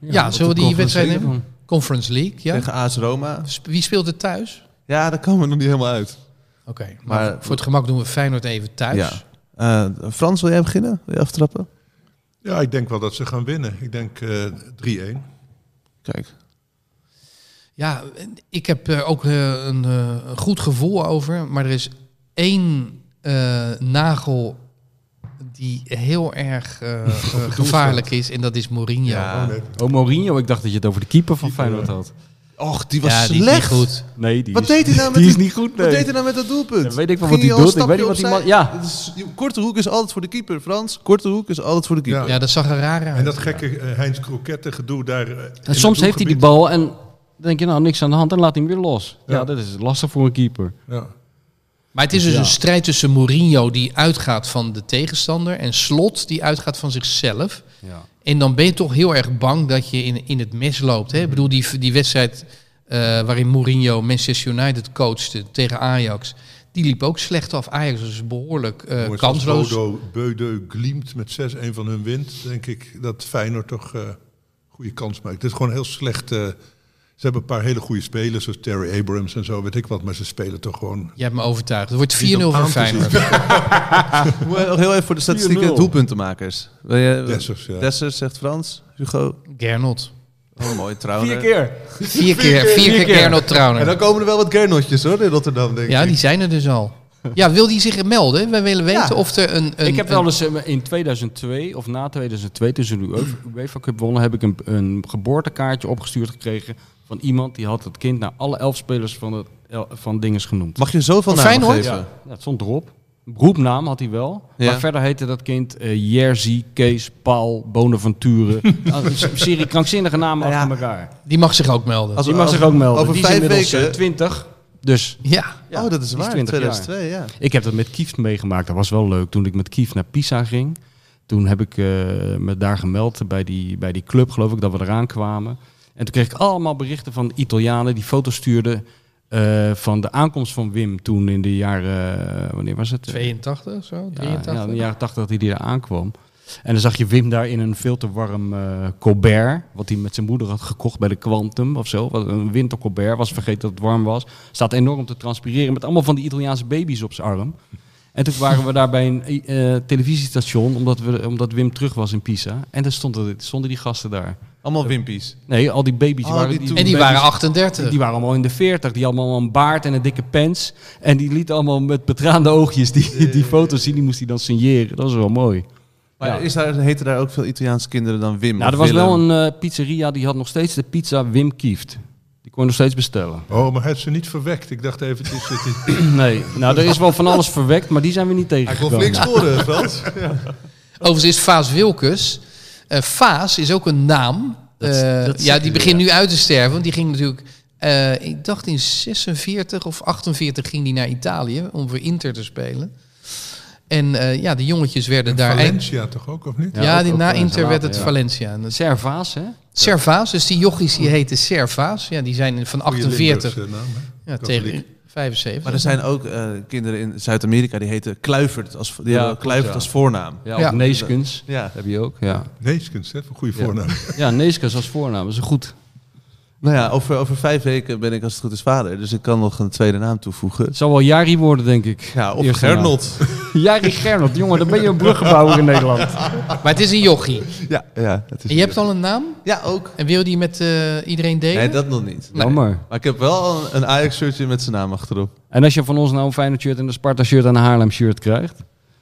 Speaker 3: Ja, zullen we die wedstrijd nemen? Conference League, ja.
Speaker 2: Tegen AS Roma?
Speaker 3: Sp- Wie speelt er thuis?
Speaker 2: Ja, daar komen we nog niet helemaal uit.
Speaker 3: Oké, maar,
Speaker 2: Maar-
Speaker 3: voor het gemak doen we Feyenoord even thuis.
Speaker 2: Ja. Eh, Frans, wil jij beginnen? Wil je aftrappen?
Speaker 5: Ja, ik denk wel dat ze gaan winnen. Ik denk eh 3-1.
Speaker 2: Kijk.
Speaker 3: Ja, en ik heb er ook eh, een eh, een goed gevoel over. Maar er is één eh, nagel die heel erg eh, eh, gevaarlijk is. En dat is Mourinho.
Speaker 2: Ja.
Speaker 3: Ja,
Speaker 1: Oh, Mourinho. Ik dacht dat je het over de keeper van Feyenoord had.
Speaker 2: Och, die was
Speaker 3: die is
Speaker 2: slecht.
Speaker 3: niet goed.
Speaker 1: Nee, die
Speaker 2: eh, Wat
Speaker 1: is,
Speaker 2: deed hij nou met
Speaker 1: die is
Speaker 2: die-
Speaker 1: niet goed, nee.
Speaker 2: Wat deed hij nou met dat doelpunt?
Speaker 1: Ja, weet ik wel wat
Speaker 2: Ging
Speaker 1: hij
Speaker 2: al een
Speaker 1: doet. Ik weet niet
Speaker 2: stapje
Speaker 1: wat die
Speaker 2: opzij?
Speaker 1: man- ja.
Speaker 2: Het is- je- korte hoek is altijd voor de keeper, Frans. Korte hoek is altijd voor de keeper.
Speaker 3: Ja, dat zag er raar
Speaker 5: En
Speaker 3: uit.
Speaker 5: dat gekke eh, Heinz Kroketten gedoe daar. eh, in
Speaker 1: En
Speaker 5: het
Speaker 1: soms heeft hij die
Speaker 5: doelgebied.
Speaker 1: bal en dan denk je nou niks aan de hand en laat hij hem weer los. Ja,
Speaker 5: Ja,
Speaker 1: dat is lastig voor een keeper.
Speaker 5: Ja.
Speaker 3: Maar het is dus
Speaker 1: Ja.
Speaker 3: een strijd tussen Mourinho die uitgaat van de tegenstander. En Slot die uitgaat van zichzelf.
Speaker 1: Ja.
Speaker 3: En dan ben je toch heel erg bang dat je in, in het mes loopt. Hè? Ik bedoel, die, die wedstrijd eh, waarin Mourinho Manchester United coachte tegen Ajax. Die liep ook slecht af. Ajax was behoorlijk eh,
Speaker 5: Jongens, als
Speaker 3: kansloos.
Speaker 5: Bodo Beudeu gliemt met 6-1 van hun wint. Denk ik dat Feyenoord toch eh goede kans maakt. Het is gewoon heel slecht. eh, ze hebben een paar hele goede spelers, zoals Terry Abrams en zo, weet ik wat. Maar ze spelen toch gewoon.
Speaker 3: Jij hebt me overtuigd. Het wordt 4-0
Speaker 5: Niet om aan
Speaker 3: voor
Speaker 5: te
Speaker 3: Feyenoord.
Speaker 2: Moet je nog heel even voor de statistieken
Speaker 1: 4-0.
Speaker 2: doelpuntenmakers. Wil je,
Speaker 5: Dessers, ja.
Speaker 2: Dessers, zegt Frans. Hugo.
Speaker 3: Gernot.
Speaker 2: Oh, mooi, trouwens.
Speaker 1: keer.
Speaker 3: Vier keer, vier keer Gernot
Speaker 2: En dan
Speaker 3: Trauner.
Speaker 2: komen er wel wat Gernotjes hoor, in Rotterdam, denk ik.
Speaker 3: Ja, die zijn er dus al. Ja, wil die zich melden? Wij willen weten
Speaker 2: Ja.
Speaker 3: of er een... een
Speaker 1: ik heb
Speaker 3: een-
Speaker 1: wel eens eh, in 2002 of na 2002, toen ze de E Ue- UEFA Cup wonnen, heb ik een, een geboortekaartje opgestuurd gekregen van iemand die had het kind naar alle elf spelers van, het, el- van dinges genoemd.
Speaker 2: Mag je zoveel
Speaker 3: Van
Speaker 2: namen
Speaker 3: Feyenoord?
Speaker 2: geven?
Speaker 1: Ja, dat stond erop. Roepnaam had hij wel.
Speaker 2: Ja.
Speaker 1: Maar verder heette dat kind eh Jerzy, Kees, Paul, Bonaventure. Ah, een serie krankzinnige namen
Speaker 2: Ja.
Speaker 1: achter elkaar.
Speaker 3: Die mag zich ook melden.
Speaker 2: Als-
Speaker 1: Die mag
Speaker 2: over-
Speaker 1: zich ook melden.
Speaker 2: over
Speaker 1: die
Speaker 2: vijf
Speaker 1: is inmiddels
Speaker 2: weken-
Speaker 1: eh, 20. Dus
Speaker 3: Ja.
Speaker 1: Ja,
Speaker 2: oh, dat is
Speaker 1: die is
Speaker 2: waar.
Speaker 1: 20 jaar.
Speaker 2: 2002, ja.
Speaker 1: ik heb dat met Kieft meegemaakt. Dat was wel leuk. Toen ik met Kieft naar Pisa ging. Toen heb ik eh, me daar gemeld bij die, bij die club, geloof ik, dat we eraan kwamen. En toen kreeg ik allemaal berichten van Italianen die foto's stuurden eh, van de aankomst van Wim toen in de jaren... eh, wanneer was het?
Speaker 3: 82 of zo?
Speaker 1: Ja,
Speaker 3: 83?
Speaker 1: Ja, in de jaren 80 dat hij die daar aankwam. En dan zag je Wim daar in een veel te warm eh, Colbert, wat hij met zijn moeder had gekocht bij de Quantum of zo. Wat Een winter Colbert, was vergeten dat het warm was. Staat enorm te transpireren met allemaal van die Italiaanse baby's op zijn arm. En toen waren we daar bij een eh, televisiestation, omdat, we, omdat Wim terug was in Pisa. En daar stonden, stonden die gasten daar.
Speaker 2: Allemaal wimpies.
Speaker 1: Nee, al die baby's
Speaker 2: Oh,
Speaker 1: waren
Speaker 2: die toen-
Speaker 3: En die
Speaker 1: baby's-
Speaker 3: waren 38.
Speaker 1: die waren allemaal in de 40. Die hadden allemaal een baard en een dikke pens. En die liet allemaal met betraande oogjes die, die foto's zien. Die moest hij dan signeren. Dat is wel mooi.
Speaker 2: Maar
Speaker 1: Ja.
Speaker 2: is daar, heten daar ook veel Italiaanse kinderen dan Wim?
Speaker 1: Nou,
Speaker 2: of
Speaker 1: er was
Speaker 2: Willem?
Speaker 1: wel een eh, pizzeria die had nog steeds de pizza Wim Kieft. Die kon je nog steeds bestellen.
Speaker 5: Oh, maar hij heeft ze niet verwekt. Ik dacht even, het is, het is-
Speaker 1: Nee, nou, er is wel van alles verwekt, maar die zijn we niet
Speaker 5: hij kon
Speaker 1: tegengekomen.
Speaker 5: flink scoren, Frans.
Speaker 3: Overigens is Vaas Wilkes. eh Vaas is ook een naam.
Speaker 1: Dat-
Speaker 3: Eh,
Speaker 1: dat
Speaker 3: ja,
Speaker 1: zeker,
Speaker 3: die begint nu uit te sterven. Want die ging natuurlijk. eh, ik dacht in 46 of 48 ging die naar Italië om voor Inter te spelen. En eh, ja, de jongetjes werden daar.
Speaker 5: Valencia toch ook, of niet?
Speaker 3: Ja,
Speaker 1: Ja, ook-
Speaker 3: die,
Speaker 1: ook
Speaker 3: na
Speaker 1: Valencia
Speaker 3: Inter werd
Speaker 1: later,
Speaker 3: het
Speaker 1: ja.
Speaker 3: Valencia. En dat-
Speaker 1: Servaas, hè?
Speaker 3: Servaas, dus die jochies die heten Servaas. Ja, die zijn van
Speaker 5: Goeie
Speaker 3: 48
Speaker 5: Limburgse naam, hè?
Speaker 3: ja,
Speaker 5: katholiek.
Speaker 3: tegen 75.
Speaker 2: Maar er zijn ook eh, kinderen in Zuid-Amerika die heten Kluivert als, die hebben
Speaker 1: klopt,
Speaker 2: Kluivert
Speaker 1: ja.
Speaker 2: als voornaam.
Speaker 1: Ja,
Speaker 3: Ja.
Speaker 1: of Neeskens.
Speaker 2: Ja.
Speaker 1: Heb je ook, ja.
Speaker 5: Neeskens, hè? Voor goede
Speaker 1: Ja.
Speaker 5: voornaam.
Speaker 1: Ja, Neeskens als voornaam. Dat is goed.
Speaker 2: Nou ja, over, over vijf weken ben ik als het goed is vader, dus ik kan nog een tweede naam toevoegen.
Speaker 1: Het zal wel Jari worden, denk ik.
Speaker 2: Ja, of
Speaker 1: Eerste naam.
Speaker 2: Gernot.
Speaker 1: Jari Gernot, jongen, dan ben je een bruggebouwer in Nederland.
Speaker 3: Maar het is een jochie.
Speaker 2: ja, ja, het is
Speaker 3: En je hebt al een naam?
Speaker 2: ja, ook.
Speaker 3: En wil je die met eh, iedereen delen?
Speaker 2: Nee, dat nog niet.
Speaker 1: Jammer.
Speaker 2: Maar ik heb wel een, een Ajax-shirtje met zijn naam achterop.
Speaker 1: En als je van ons nou een Feyenoord shirt en een Sparta shirt en een Haarlem shirt krijgt,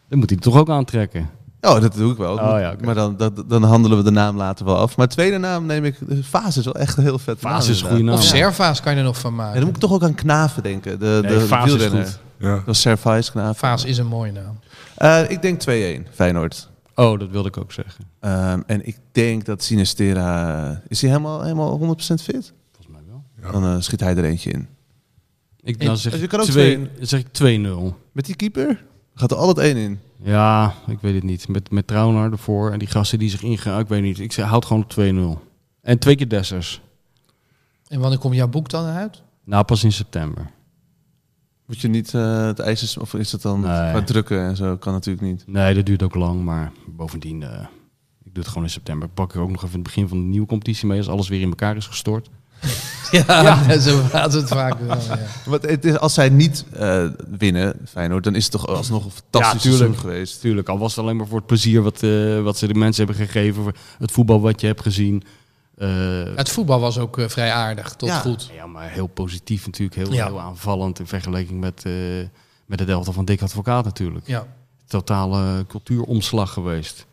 Speaker 1: dan moet hij het toch ook aantrekken.
Speaker 2: Oh, dat doe ik wel.
Speaker 1: Oh, ja, oké.
Speaker 2: Maar dan, dat, dan handelen we de naam later wel af. Maar tweede naam neem ik... Fase is wel echt een heel vet
Speaker 1: Vaas is een goede naam.
Speaker 3: Of
Speaker 1: Ja.
Speaker 3: Servaas kan je er nog van
Speaker 2: En dan
Speaker 3: maken.
Speaker 2: moet ik toch ook aan Knaven denken. De, de,
Speaker 1: Nee, Vaas is
Speaker 2: wielrenner.
Speaker 1: goed.
Speaker 5: Ja.
Speaker 2: Dat was Servais Knaven.
Speaker 3: Vaas is een mooie naam.
Speaker 2: Eh, ik denk 2-1, Feyenoord.
Speaker 1: Oh, dat wilde ik ook zeggen.
Speaker 2: Ehm, en ik denk dat Sinistera... eh, Is hij helemaal, helemaal 100% fit?
Speaker 1: Volgens mij wel.
Speaker 2: Dan eh, schiet hij er eentje in.
Speaker 1: Ik, dan zeg,
Speaker 2: je
Speaker 1: ik
Speaker 2: kan ook
Speaker 1: twee-
Speaker 2: twee-
Speaker 1: dan zeg ik 2-0.
Speaker 2: Met die keeper? Gaat er altijd één in.
Speaker 1: Ja, ik weet het niet. Met, met Trauner ervoor en die gasten die zich ingaan, ik weet niet. Ik zeg, houd gewoon op 2-0. En twee keer Dessers.
Speaker 3: En wanneer komt jouw boek dan uit?
Speaker 1: Nou, pas in september.
Speaker 2: Moet je niet eh, het ijs... is- Of is dat dan...
Speaker 1: Nee.
Speaker 2: Qua drukken en zo kan natuurlijk niet.
Speaker 1: Nee, dat duurt ook lang, maar bovendien, eh, ik doe het gewoon in september. Ik pak er ook nog even het begin van de nieuwe competitie mee, als alles weer in elkaar is gestort.
Speaker 3: Ja, zo gaat het vaak wel. Ja.
Speaker 2: Want het is, als zij niet eh, winnen, Feyenoord, dan is het toch alsnog een fantastisch
Speaker 1: tuurlijk.
Speaker 2: seizoen geweest.
Speaker 1: Tuurlijk, al was het alleen maar voor het plezier wat, eh, wat ze de mensen hebben gegeven. voor Het voetbal wat je hebt gezien. Eh,
Speaker 3: Het voetbal was ook eh, vrij aardig, tot
Speaker 2: Ja.
Speaker 3: goed.
Speaker 1: ja, maar heel positief natuurlijk. Heel,
Speaker 3: Ja.
Speaker 1: heel aanvallend in vergelijking met, eh met de delta van Dick Advocaat natuurlijk.
Speaker 3: Ja.
Speaker 1: Totale cultuuromslag geweest.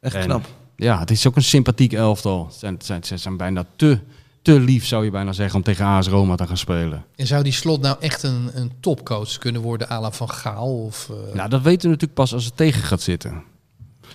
Speaker 2: Echt
Speaker 1: En-
Speaker 2: knap.
Speaker 1: Ja, het is ook een sympathiek elftal. Ze zijn, het zijn, ze zijn bijna te, te lief, zou je bijna zeggen, om tegen AS Roma te gaan spelen.
Speaker 3: En zou die slot nou echt een, een topcoach kunnen worden, à la Van Gaal? Of, eh,
Speaker 1: Nou, dat weten we natuurlijk pas als het tegen gaat zitten.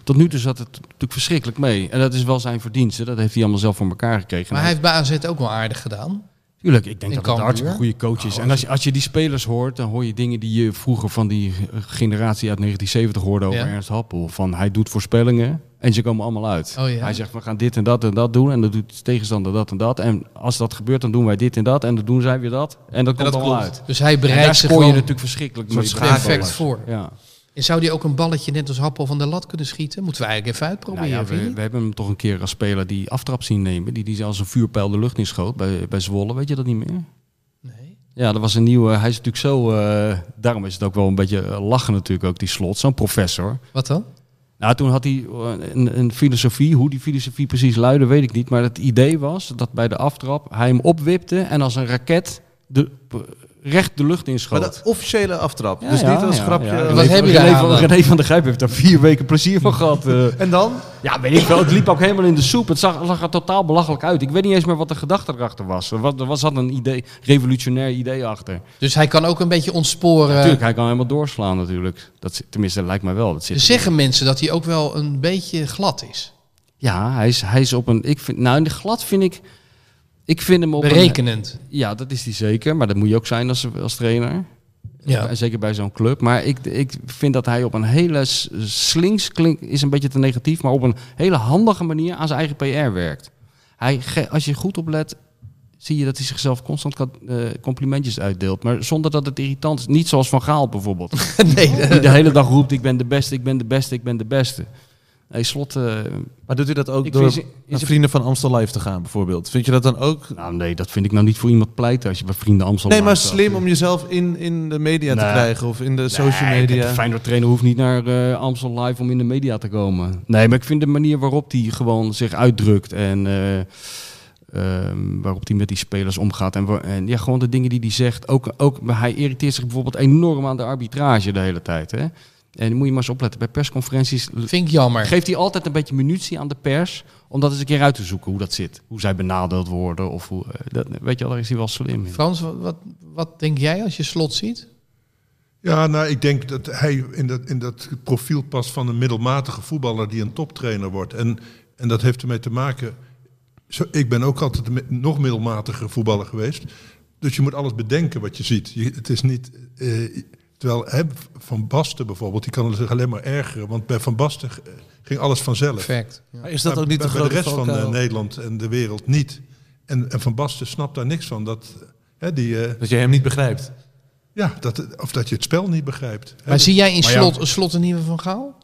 Speaker 1: Tot nu toe zat het natuurlijk verschrikkelijk mee. En dat is wel zijn verdienste. Dat heeft hij allemaal zelf voor elkaar gekregen. Nou,
Speaker 3: maar
Speaker 1: En
Speaker 3: hij heeft bij AZ ook wel aardig gedaan.
Speaker 1: Tuurlijk, ik denk
Speaker 3: In
Speaker 1: dat het een
Speaker 3: Cambuur. Oh,
Speaker 1: hartstikke goede coach is. En als je, als je die spelers hoort, dan hoor je dingen die je vroeger van die eh, generatie uit 1970 hoorde over
Speaker 3: Ja.
Speaker 1: Ernst Happel. Van hij doet voorspellingen en ze komen allemaal uit.
Speaker 3: Oh ja.
Speaker 1: Hij zegt we gaan dit en dat en dat doen en dan doet de tegenstander dat en dat. En als dat gebeurt, dan doen wij dit en dat en dan doen zij weer dat. En dat komt
Speaker 2: dat
Speaker 1: allemaal
Speaker 2: klopt.
Speaker 1: uit.
Speaker 3: Dus hij
Speaker 1: En daar
Speaker 3: bereidt zich
Speaker 1: scoor je
Speaker 3: gewoon
Speaker 1: natuurlijk verschrikkelijk
Speaker 2: soort
Speaker 1: mee.
Speaker 3: perfect voor.
Speaker 1: Ja.
Speaker 3: En zou die ook een balletje net als Happel van de lat kunnen schieten? Moeten we eigenlijk even
Speaker 1: Nou
Speaker 3: uitproberen.
Speaker 1: ja,
Speaker 3: vind je
Speaker 1: we,
Speaker 3: niet?
Speaker 1: we hebben hem toch een keer als speler die aftrap zien nemen. Die, die als een vuurpijl de lucht in schoot bij, bij Zwolle. Weet je dat niet meer?
Speaker 3: Nee.
Speaker 1: Ja, dat was een nieuwe. Hij is natuurlijk zo. eh, daarom is het ook wel een beetje eh, lachen, natuurlijk, ook die slot. Zo'n professor.
Speaker 3: Wat dan?
Speaker 1: Nou, toen had hij eh, een, een filosofie. Hoe die filosofie precies luidde, weet ik niet. Maar het idee was dat bij de aftrap hij hem opwipte en als een raket de, p- recht de lucht
Speaker 2: Maar
Speaker 1: inschoot.
Speaker 2: de officiële aftrap.
Speaker 1: Ja,
Speaker 2: dus
Speaker 1: ja,
Speaker 2: niet als
Speaker 1: ja,
Speaker 2: grapje.
Speaker 1: ja.
Speaker 3: Wat heb je daar
Speaker 1: René
Speaker 3: aan
Speaker 1: van,
Speaker 3: dan?
Speaker 1: René van der Gijp heeft daar vier weken plezier van gehad. eh.
Speaker 2: En dan?
Speaker 1: Ja, weet ik wel. Het liep ook helemaal in de soep. Het zag, zag er totaal belachelijk uit. Ik weet niet eens meer wat de gedachte erachter was. Er was, er was zat een idee, revolutionair idee achter.
Speaker 3: Dus hij kan ook een beetje ontsporen.
Speaker 1: Natuurlijk, hij kan helemaal doorslaan natuurlijk. Dat, zit- tenminste, dat lijkt mij wel. Dat zit
Speaker 3: dus zeggen mensen dat hij ook wel een beetje glad is.
Speaker 1: Ja, hij is, hij is op een... Ik vind, nou, in de glad vind ik... Ik vind hem op een-
Speaker 3: Berekenend.
Speaker 1: ja, dat is hij zeker. Maar dat moet je ook zijn als, als trainer.
Speaker 3: Ja.
Speaker 1: En Zeker bij zo'n club. Maar ik, ik vind dat hij op een hele s- slinks klink, is een beetje te negatief, maar op een hele handige manier aan zijn eigen PR werkt. Hij, ge- als je goed oplet, zie je dat hij zichzelf constant kan- eh, complimentjes uitdeelt. Maar zonder dat het irritant is. Niet zoals Van Gaal bijvoorbeeld.
Speaker 3: nee,
Speaker 1: die de hele dag roept: Ik ben de beste, ik ben de beste, ik ben de beste. Hey, slot, eh,
Speaker 2: Maar doet u dat ook
Speaker 1: Ik
Speaker 2: door
Speaker 1: vind ze-
Speaker 2: naar
Speaker 1: ze-
Speaker 2: vrienden van Amstel Live te gaan bijvoorbeeld? Vind je dat dan ook...
Speaker 1: nou nee, dat vind ik nou niet voor iemand pleiten als je bij vrienden Amstel
Speaker 2: Nee, maar
Speaker 1: langs gaat.
Speaker 2: slim om jezelf in, in de media te
Speaker 1: Nee.
Speaker 2: krijgen of in de social
Speaker 1: Nee,
Speaker 2: media.
Speaker 1: De Feyenoord trainer hoeft niet naar eh, Amstel Live om in de media te komen. Nee, maar ik vind de manier waarop hij gewoon zich uitdrukt en eh, ehm, waarop hij met die spelers omgaat. En, wa- en ja, gewoon de dingen die hij zegt. Ook, ook, maar hij irriteert zich bijvoorbeeld enorm aan de arbitrage de hele tijd. Hè? En dan moet je maar eens opletten. Bij persconferenties l-
Speaker 3: Vind ik jammer.
Speaker 1: geeft hij altijd een beetje munitie aan de pers. Om dat eens een keer uit te zoeken hoe dat zit. Hoe zij benadeeld worden. Of hoe, eh, dat, weet je wel, daar is hij wel slim in.
Speaker 3: Frans, wat, wat, wat denk jij als je slot ziet?
Speaker 5: Ja, nou, ik denk dat hij in dat, in dat profiel past van een middelmatige voetballer die een toptrainer wordt. En, en dat heeft ermee te maken. Zo, ik ben ook altijd een mi- nog middelmatiger voetballer geweest. Dus je moet alles bedenken wat je ziet. Je- het is niet. eh, terwijl hè, Van Basten bijvoorbeeld, die kan zich alleen maar ergeren. Want bij Van Basten eh, ging alles vanzelf.
Speaker 3: Perfect. Ja.
Speaker 2: Maar is dat
Speaker 5: Maar
Speaker 2: ook niet de
Speaker 5: bij, bij
Speaker 2: grote
Speaker 5: de rest van eh,
Speaker 2: valkuil?
Speaker 5: Nederland en de wereld niet. En, en Van Basten snapt daar niks van. Dat, hè, die, eh,
Speaker 2: Dat je hem niet begrijpt.
Speaker 5: ja, dat, of dat je het spel niet begrijpt. Hè, dus,
Speaker 3: Maar
Speaker 5: dat-
Speaker 3: zie jij in
Speaker 1: Maar ja.
Speaker 3: slot, slot een nieuwe Van Gaal?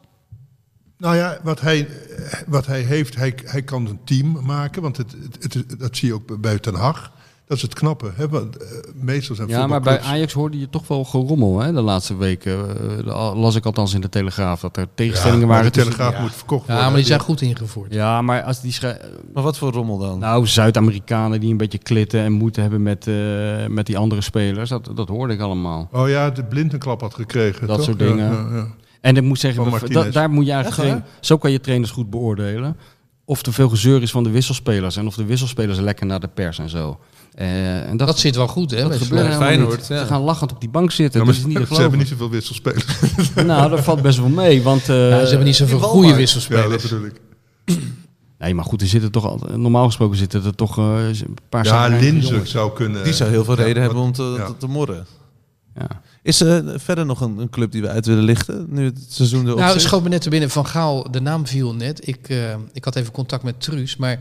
Speaker 5: Nou ja, wat hij, eh, wat hij heeft, hij, hij kan een team maken. Want het, het, het- dat zie je ook bij Den Haag. Dat is het knappe. Hè? Want, eh, meestal zijn
Speaker 1: Ja, maar bij
Speaker 5: voetbalclubs-
Speaker 1: Ajax hoorde je toch wel gerommel hè, de laatste weken. Eh, la- las ik althans in de Telegraaf dat er tegenstellingen
Speaker 5: Ja, maar
Speaker 1: waren.
Speaker 5: de
Speaker 1: tussen-
Speaker 5: Telegraaf
Speaker 1: ja.
Speaker 5: moet verkocht worden.
Speaker 3: Ja, maar
Speaker 5: hè.
Speaker 3: die zijn goed ingevoerd.
Speaker 1: Ja, maar als die schrij-
Speaker 2: Maar wat voor rommel dan?
Speaker 1: nou, Zuid-Amerikanen die een beetje klitten en moeite hebben met, eh, met die andere spelers, dat, dat hoorde ik allemaal.
Speaker 5: Oh ja, de blind een klap had gekregen.
Speaker 1: Dat
Speaker 5: toch?
Speaker 1: soort
Speaker 5: Ja,
Speaker 1: dingen.
Speaker 5: ja, ja.
Speaker 1: En ik moet zeggen,
Speaker 5: Van
Speaker 1: we-
Speaker 5: Martinez.
Speaker 1: da- daar moet je eigenlijk
Speaker 2: Echt
Speaker 1: geen- zo kan je trainers goed beoordelen of er veel gezeur is van de wisselspelers en of de wisselspelers lekker naar de pers en zo. Eh, en dat,
Speaker 3: Dat zit wel goed, hè? bij
Speaker 1: dat
Speaker 3: slot.
Speaker 1: gebeurt helemaal
Speaker 2: Feyenoord,
Speaker 1: niet.
Speaker 2: ja.
Speaker 1: Ze gaan lachend op die bank zitten.
Speaker 5: Ja, maar
Speaker 1: dat is niet te
Speaker 5: ze
Speaker 1: geloven.
Speaker 5: hebben niet zoveel wisselspelers.
Speaker 1: Nou, dat valt best wel mee, want eh,
Speaker 3: Nou, ze hebben niet zoveel
Speaker 2: die Walmart.
Speaker 3: goede
Speaker 5: ja, dat
Speaker 3: wisselspelers.
Speaker 5: bedoel ik.
Speaker 1: Nee, maar goed, er zitten toch al, normaal gesproken zitten er toch eh, een paar
Speaker 5: Ja,
Speaker 1: zagrijnige
Speaker 5: Linzen
Speaker 1: jongens.
Speaker 5: zou kunnen. eh,
Speaker 2: Die zou heel veel
Speaker 5: Ja,
Speaker 2: reden
Speaker 5: wat-
Speaker 2: hebben om te,
Speaker 5: ja.
Speaker 2: te, te morren.
Speaker 1: Ja.
Speaker 2: Is er verder nog een, een club die we uit willen lichten? Nu het seizoen erop
Speaker 3: nou,
Speaker 2: zit?
Speaker 3: schoot me net te binnen. Van Gaal, de naam viel net. Ik, eh, ik had even contact met Truus, maar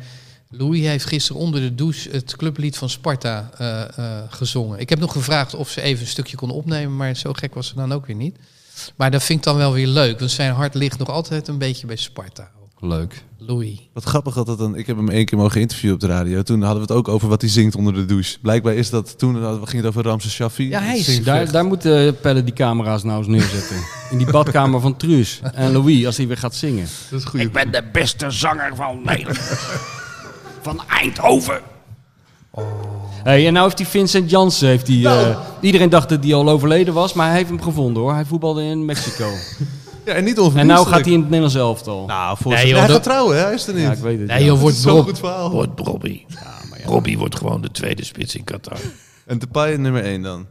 Speaker 3: Louis heeft gisteren onder de douche het clublied van Sparta eh, eh, gezongen. Ik heb nog gevraagd of ze even een stukje kon opnemen, maar zo gek was ze dan ook weer niet. Maar dat vind ik dan wel weer leuk, want zijn hart ligt nog altijd een beetje bij Sparta.
Speaker 1: Leuk.
Speaker 3: Louis.
Speaker 2: Wat grappig dat dat dan... Ik heb hem één keer mogen interviewen op de radio. Toen hadden we het ook over wat hij zingt onder de douche. Blijkbaar is dat... Toen hadden we- ging het over Ramses Shaffi.
Speaker 3: Ja, hij
Speaker 2: Het
Speaker 3: is-
Speaker 2: zingt-
Speaker 1: Daar, daar moeten Pelle die camera's nou eens neerzetten. In die badkamer van Truus en Louis, als hij weer gaat zingen.
Speaker 5: Dat is een goede.
Speaker 6: Ik ben de beste zanger van Nederland. Van Eindhoven.
Speaker 1: Oh. Hey, en nou heeft die Vincent Jansen, heeft die,
Speaker 6: Nou.
Speaker 1: eh, iedereen dacht dat hij al overleden was, maar hij heeft hem gevonden hoor. Hij voetbalde in Mexico.
Speaker 2: Ja, en niet
Speaker 1: en nou
Speaker 2: onverdienstelijk.
Speaker 1: gaat hij in het Nederlands elftal.
Speaker 2: Nou, voor
Speaker 3: Nee,
Speaker 2: zijn-
Speaker 3: joh,
Speaker 2: hij
Speaker 3: dat-
Speaker 2: gaat trouwen, hè? Hij is er niet.
Speaker 1: ja, ik weet het.
Speaker 3: Nee,
Speaker 1: ja.
Speaker 3: joh, wordt
Speaker 2: Zo'n
Speaker 3: Rob.
Speaker 2: goed verhaal.
Speaker 6: Wordt Robbie. Robbie wordt gewoon de tweede spits in Qatar.
Speaker 2: En Depay nummer 1 dan.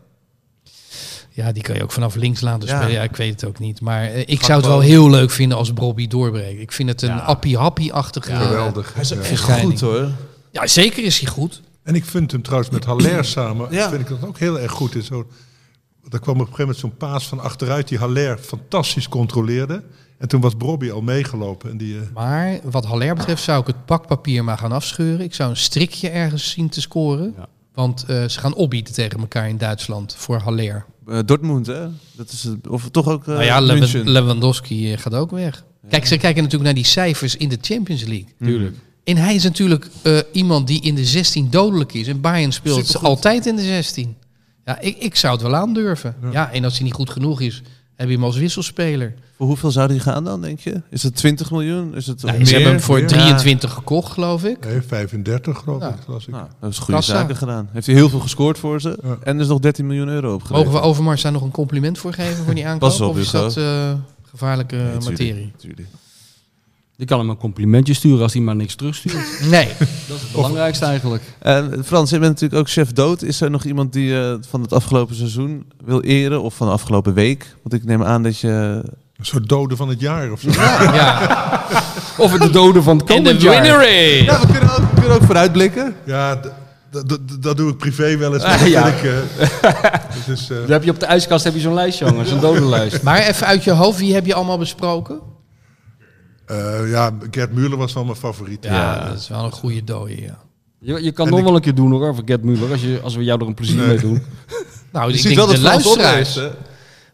Speaker 3: Ja, die kan je ook vanaf links laten
Speaker 2: Ja.
Speaker 3: spelen. Ja, ik weet het ook niet. Maar eh, ik zou het wel heel leuk vinden als Bobby doorbreekt. Ik vind het een appie-happie-achtige...
Speaker 5: Geweldig. Ja.
Speaker 2: Echt
Speaker 3: Verschijning.
Speaker 2: goed, hoor.
Speaker 3: Ja, zeker is hij goed.
Speaker 5: En ik vind hem trouwens met Haller samen,
Speaker 2: Ja.
Speaker 5: vind ik dat ook heel erg goed. In zo, er kwam op een gegeven moment zo'n paas van achteruit die Haller fantastisch controleerde. En toen was Bobby al meegelopen. En die, eh,
Speaker 3: Maar wat Haller betreft zou ik het pakpapier maar gaan afscheuren. Ik zou een strikje ergens zien te scoren.
Speaker 1: Ja.
Speaker 3: Want eh, ze gaan opbieden tegen elkaar in Duitsland voor Haller.
Speaker 2: Eh, Dortmund, hè? Dat is het, of toch ook eh
Speaker 3: nou ja, Lew-
Speaker 2: München.
Speaker 3: Lewandowski eh, gaat ook weg. Kijk, ze kijken natuurlijk naar die cijfers in de Champions League.
Speaker 1: Tuurlijk.
Speaker 3: En hij is natuurlijk eh, iemand die in de 16 dodelijk is. En Bayern speelt altijd in de 16. Ja, ik, ik zou het wel aandurven. Ja. en als hij niet goed genoeg is, heb je hem als wisselspeler.
Speaker 2: Voor hoeveel zou die gaan dan, denk je? Is het 20 miljoen? Is het eh,
Speaker 3: Nou,
Speaker 2: meer?
Speaker 3: ze hebben hem voor
Speaker 2: Meer?
Speaker 3: 23 gekocht, geloof ik.
Speaker 5: nee, 35 eh, geloof ik, las ik.
Speaker 2: Nou, dat is goede
Speaker 3: Kassa.
Speaker 2: zaken gedaan. Heeft hij heel veel gescoord voor ze.
Speaker 5: Ja.
Speaker 2: En er is nog 13 miljoen euro opgeleverd.
Speaker 3: Mogen we Overmars daar nog een compliment voor geven voor die aankoop?
Speaker 2: Pas op,
Speaker 3: of is
Speaker 2: Hugo.
Speaker 3: dat eh, gevaarlijke materie?
Speaker 1: Je kan hem een complimentje sturen als hij maar niks terugstuurt.
Speaker 3: Nee.
Speaker 1: Dat is het belangrijkste eigenlijk.
Speaker 2: En Eh, Frans, je bent natuurlijk ook chef dood. Is er nog iemand die je van het afgelopen seizoen wil eren? Of van de afgelopen week? Want ik neem aan dat je...
Speaker 5: Een soort dode van het jaar of zo.
Speaker 3: ja.
Speaker 1: Of het de doden van het
Speaker 3: En de
Speaker 1: komend jaar.
Speaker 3: winner is...
Speaker 2: Ja, we kunnen ook, we kunnen ook vooruitblikken.
Speaker 5: Ja, d- d- d- dat doe ik privé wel eens. maar dat
Speaker 1: ja.
Speaker 5: vind ik, eh, dat is, eh,
Speaker 1: Dan heb je op de ijskast heb je zo'n lijst, jongens, een dodenlijst.
Speaker 3: Maar even uit je hoofd, wie heb je allemaal besproken?
Speaker 5: eh, ja, Gert Muller was wel mijn favoriet.
Speaker 3: Ja, dat is wel een goede dode, ja.
Speaker 1: Je, je kan
Speaker 5: En
Speaker 1: nog
Speaker 5: ik-
Speaker 1: wel een keer doen hoor, over Gert Muller, als, je, als we jou er een plezier mee doen.
Speaker 3: Nou,
Speaker 2: Je
Speaker 3: ik
Speaker 2: ziet
Speaker 3: denk
Speaker 2: wel dat
Speaker 3: de
Speaker 2: Frans op is,
Speaker 3: luisteraars,
Speaker 2: hè?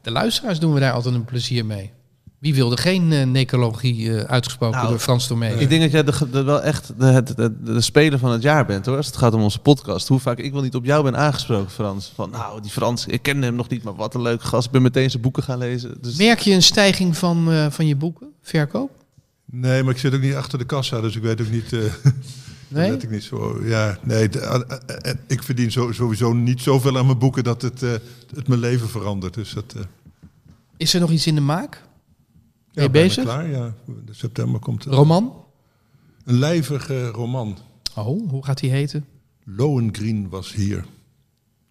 Speaker 3: de luisteraars doen we daar altijd een plezier mee. Wie wilde geen eh, necrologie eh, uitgesproken
Speaker 2: Nou,
Speaker 3: door Frans Tomé?
Speaker 2: Ik denk dat jij de, ge- de- wel echt de, het- de, de speler van het jaar bent hoor. Als het gaat om onze podcast. Hoe vaak ik wel niet op jou ben aangesproken, Frans. Van nou, die Frans, ik kende hem nog niet, maar wat een leuke gast. Ik ben meteen zijn boeken gaan lezen. Dus
Speaker 3: Merk je een stijging van, eh, van je boeken, verkoop?
Speaker 5: Nee, maar ik zit ook niet achter de kassa, dus ik weet ook niet. eh,
Speaker 3: Nee?
Speaker 5: Dat ik niet zo. Ja, nee. de- a- a- a- ik verdien zo- sowieso niet zoveel aan mijn boeken dat het, eh, het mijn leven verandert. Dus dat. eh,
Speaker 3: Is er nog iets in de maak?
Speaker 5: ja,
Speaker 3: Ben je
Speaker 5: bijna
Speaker 3: bezig?
Speaker 5: Klaar, ja. In September komt een,
Speaker 3: Roman?
Speaker 5: een lijvige roman.
Speaker 3: Oh, hoe gaat die heten?
Speaker 5: Lohengrin was hier.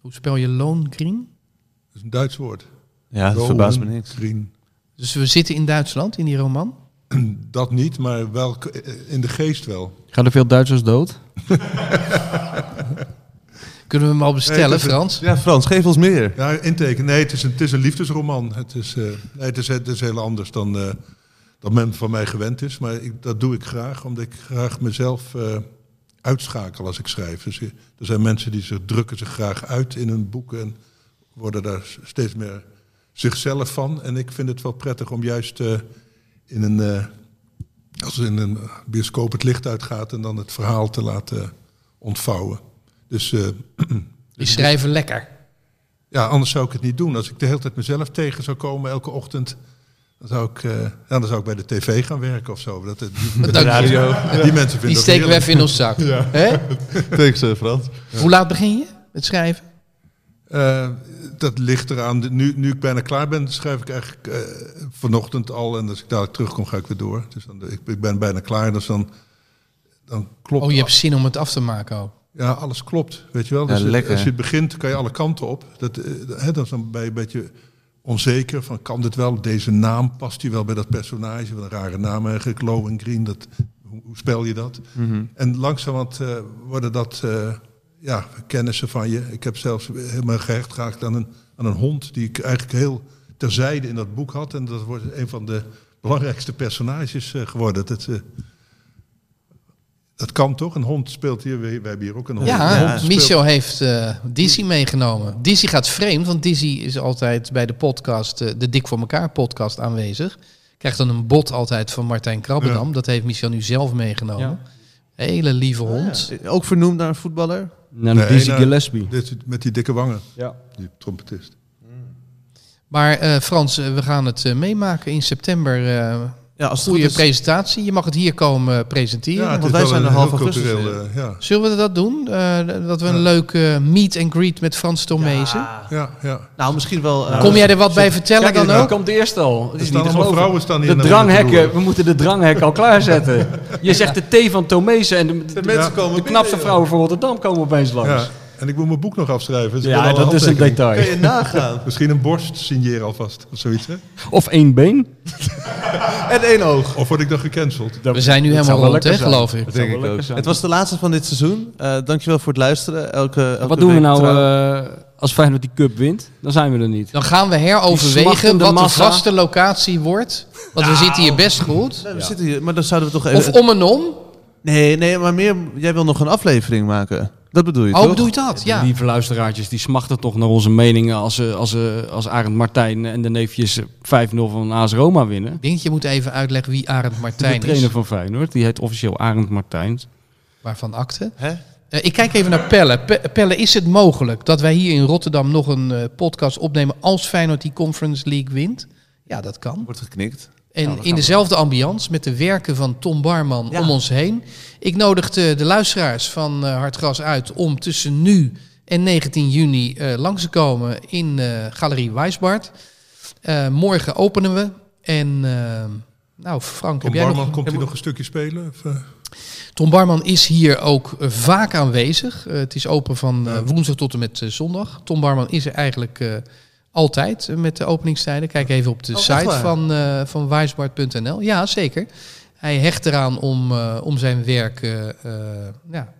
Speaker 3: Hoe spel je Loongreen?
Speaker 5: Dat is een Duits woord.
Speaker 2: ja, dat verbaast me niks.
Speaker 5: Lohengrin.
Speaker 3: Dus we zitten in Duitsland, in die roman.
Speaker 5: Dat niet, maar wel k- eh, in de geest wel.
Speaker 1: Gaan er veel Duitsers dood?
Speaker 3: Kunnen we hem al bestellen,
Speaker 5: Nee, dat is-
Speaker 3: Frans?
Speaker 2: Ja, Frans, geef ons meer.
Speaker 5: Ja, inteken. Nee, het is een, het is een liefdesroman. Het is, eh, nee, het is, het is heel anders dan eh, dat men van mij gewend is. Maar ik, dat doe ik graag, omdat ik graag mezelf eh, uitschakel als ik schrijf. Dus eh, er zijn mensen die zich drukken zich graag uit in hun boeken en worden daar s- steeds meer zichzelf van. En ik vind het wel prettig om juist eh, in een, eh, als in een bioscoop het licht uitgaat en dan het verhaal te laten ontvouwen. Dus eh,
Speaker 3: Die schrijven lekker.
Speaker 5: ja, anders zou ik het niet doen. Als ik de hele tijd mezelf tegen zou komen elke ochtend, dan zou ik, eh, ja, dan zou ik bij de tv gaan werken of zo. Dat, eh, die,
Speaker 3: Dank je.
Speaker 2: Radio.
Speaker 5: die mensen vinden
Speaker 3: Die
Speaker 5: dat
Speaker 3: steken we
Speaker 5: heerlijk.
Speaker 3: even in ons zak. Hè?
Speaker 2: Thanks, eh, Frans.
Speaker 3: Hoe laat begin je met schrijven?
Speaker 5: Eh, dat ligt eraan. De- Nu, nu ik bijna klaar ben, schrijf ik eigenlijk eh, vanochtend al. En als ik dadelijk terugkom, ga ik weer door. Dus dan, ik, ik ben bijna klaar. Dus dan, dan klopt
Speaker 3: Oh, je hebt zin om het af te maken ook.
Speaker 5: Ja, alles klopt, weet je wel.
Speaker 2: Ja,
Speaker 5: Dus het-
Speaker 2: lekker.
Speaker 5: als je het begint, kan je alle kanten op. Dat, eh, hè, dan is dan ben je een beetje onzeker van kan dit wel? Deze naam past die wel bij dat personage? Wat een rare naam eigenlijk, Low en Green. Dat, hoe, hoe spel je dat? En langzamerhand eh, worden dat eh, ja, kennissen van je. Ik heb zelfs helemaal gehecht geraakt aan een, aan een hond die ik eigenlijk heel terzijde in dat boek had. En dat wordt een van de belangrijkste personages eh, geworden. Dat, eh, dat kan toch? Een hond speelt hier. We, we hebben hier ook een hond.
Speaker 3: Ja,
Speaker 5: Een hond speelt-
Speaker 3: Michel heeft eh Dizzy meegenomen. Dizzy gaat vreemd, want Dizzy is altijd bij de podcast, eh, de Dik voor elkaar podcast aanwezig. Krijgt dan een bot altijd van Martijn Krabbendam. Dat heeft Michel nu zelf meegenomen. Hele lieve hond.
Speaker 2: Eh, Ook vernoemd naar een voetballer.
Speaker 1: Naar
Speaker 5: Nee,
Speaker 1: Dizzy
Speaker 5: nou,
Speaker 1: Gillespie.
Speaker 5: Dit, is met die dikke wangen,
Speaker 1: Ja.
Speaker 5: die trompetist.
Speaker 3: Maar eh, Frans, eh, we gaan het eh, meemaken in september. eh,
Speaker 2: Ja, als het
Speaker 3: goede
Speaker 2: goed is-
Speaker 3: presentatie. Je mag het hier komen eh, presenteren.
Speaker 5: het
Speaker 2: want
Speaker 5: is
Speaker 2: wij
Speaker 5: wel
Speaker 2: zijn
Speaker 5: een
Speaker 2: er half
Speaker 5: heel
Speaker 2: augustus
Speaker 5: cultureel, eh, ja.
Speaker 3: Zullen we dat doen? Eh, dat we een
Speaker 5: Ja.
Speaker 3: leuke meet and greet met Frans Tormezen.
Speaker 5: ja, ja.
Speaker 2: Nou, misschien wel... eh,
Speaker 3: Kom jij er wat bij vertellen
Speaker 1: Kijk,
Speaker 3: dan
Speaker 1: dan
Speaker 3: ook?
Speaker 1: komt eerst al. Het
Speaker 5: nou- Er
Speaker 1: is
Speaker 5: staan
Speaker 1: niet te
Speaker 5: allemaal
Speaker 1: geloven.
Speaker 5: vrouwen staan hier.
Speaker 1: De
Speaker 5: naar binnen te
Speaker 1: dranghekken,
Speaker 5: roeren.
Speaker 1: we moeten de dranghekken al klaarzetten. Je zegt de T van Tomezen en de, de,
Speaker 5: mensen komen
Speaker 1: de
Speaker 5: binnen,
Speaker 1: knapste
Speaker 5: joh.
Speaker 1: vrouwen van Rotterdam komen opeens langs.
Speaker 5: Ja.
Speaker 1: Ja,
Speaker 5: En ik moet mijn boek nog afschrijven. dus ik wil alle
Speaker 1: dat is een
Speaker 5: handtekeningen.
Speaker 2: Kun
Speaker 1: detail.
Speaker 2: je nagaan.
Speaker 5: Misschien een borst signeren alvast, of zoiets. Hè?
Speaker 1: Of één been.
Speaker 2: en één oog.
Speaker 5: Of word ik dan gecanceld?
Speaker 3: We zijn nu
Speaker 1: Dat zou
Speaker 3: helemaal
Speaker 1: wel
Speaker 3: rond, hè,
Speaker 1: lekker zijn.
Speaker 3: geloof ik.
Speaker 1: Dat zou wel lekker zijn.
Speaker 2: Het was de laatste van dit seizoen. Eh dankjewel voor het luisteren. Elke, elke
Speaker 1: Wat doen we
Speaker 2: week
Speaker 1: nou
Speaker 2: trouw.
Speaker 1: eh, als Feyenoord die cup wint? Dan zijn we er niet.
Speaker 3: Dan gaan we
Speaker 1: Die
Speaker 3: heroverwegen
Speaker 1: slachtende
Speaker 3: wat de
Speaker 1: massa. Nou.
Speaker 3: vaste locatie wordt. Want we zitten hier best goed.
Speaker 2: Nee, we zitten hier, maar dan zouden we toch even...
Speaker 3: Of om en om.
Speaker 2: Nee, nee, maar meer... Jij wil nog een aflevering maken. Dat bedoel je
Speaker 3: Oh,
Speaker 2: toch?
Speaker 3: bedoel je dat? Ja.
Speaker 1: Lieve luisteraartjes, die smachten toch naar onze meningen als, ze- als, ze- als Arend Martijn en de neefjes 5-0 van AS Roma winnen.
Speaker 3: Ik denk, je moet even uitleggen wie Arend
Speaker 1: De
Speaker 3: Martijn is.
Speaker 1: trainer van Feyenoord, die heet officieel Arend Martijn.
Speaker 3: Waarvan akte.
Speaker 2: Hè?
Speaker 3: Eh, ik kijk even naar Pelle. Pe- Pelle, is het mogelijk dat wij hier in Rotterdam nog een eh, podcast opnemen als Feyenoord die Conference League wint? Ja, dat kan.
Speaker 2: Wordt geknikt.
Speaker 3: En in dezelfde ambiance met de werken van Tom Barman
Speaker 2: Ja.
Speaker 3: om ons heen. Ik nodig eh, de, de luisteraars van eh, Hartgras uit om tussen nu en 19 juni eh, langs te komen in eh, Galerie Wijsbart. Eh, morgen openen we. En eh, nou, Frank,
Speaker 5: Kom
Speaker 3: heb jij
Speaker 5: Barman,
Speaker 3: nog...
Speaker 5: komt hij nog een stukje spelen? Of, eh?
Speaker 3: Tom Barman is hier ook eh, vaak aanwezig. Eh, het is open van eh, woensdag tot en met eh, zondag. Tom Barman is er eigenlijk eh, altijd eh, met de openingstijden. Kijk even op de
Speaker 2: Oh, echt
Speaker 3: site
Speaker 2: waar?
Speaker 3: van, eh van wijsbart.nl. Ja, zeker. Hij hecht eraan om, eh, om zijn werk eh, eh, ja,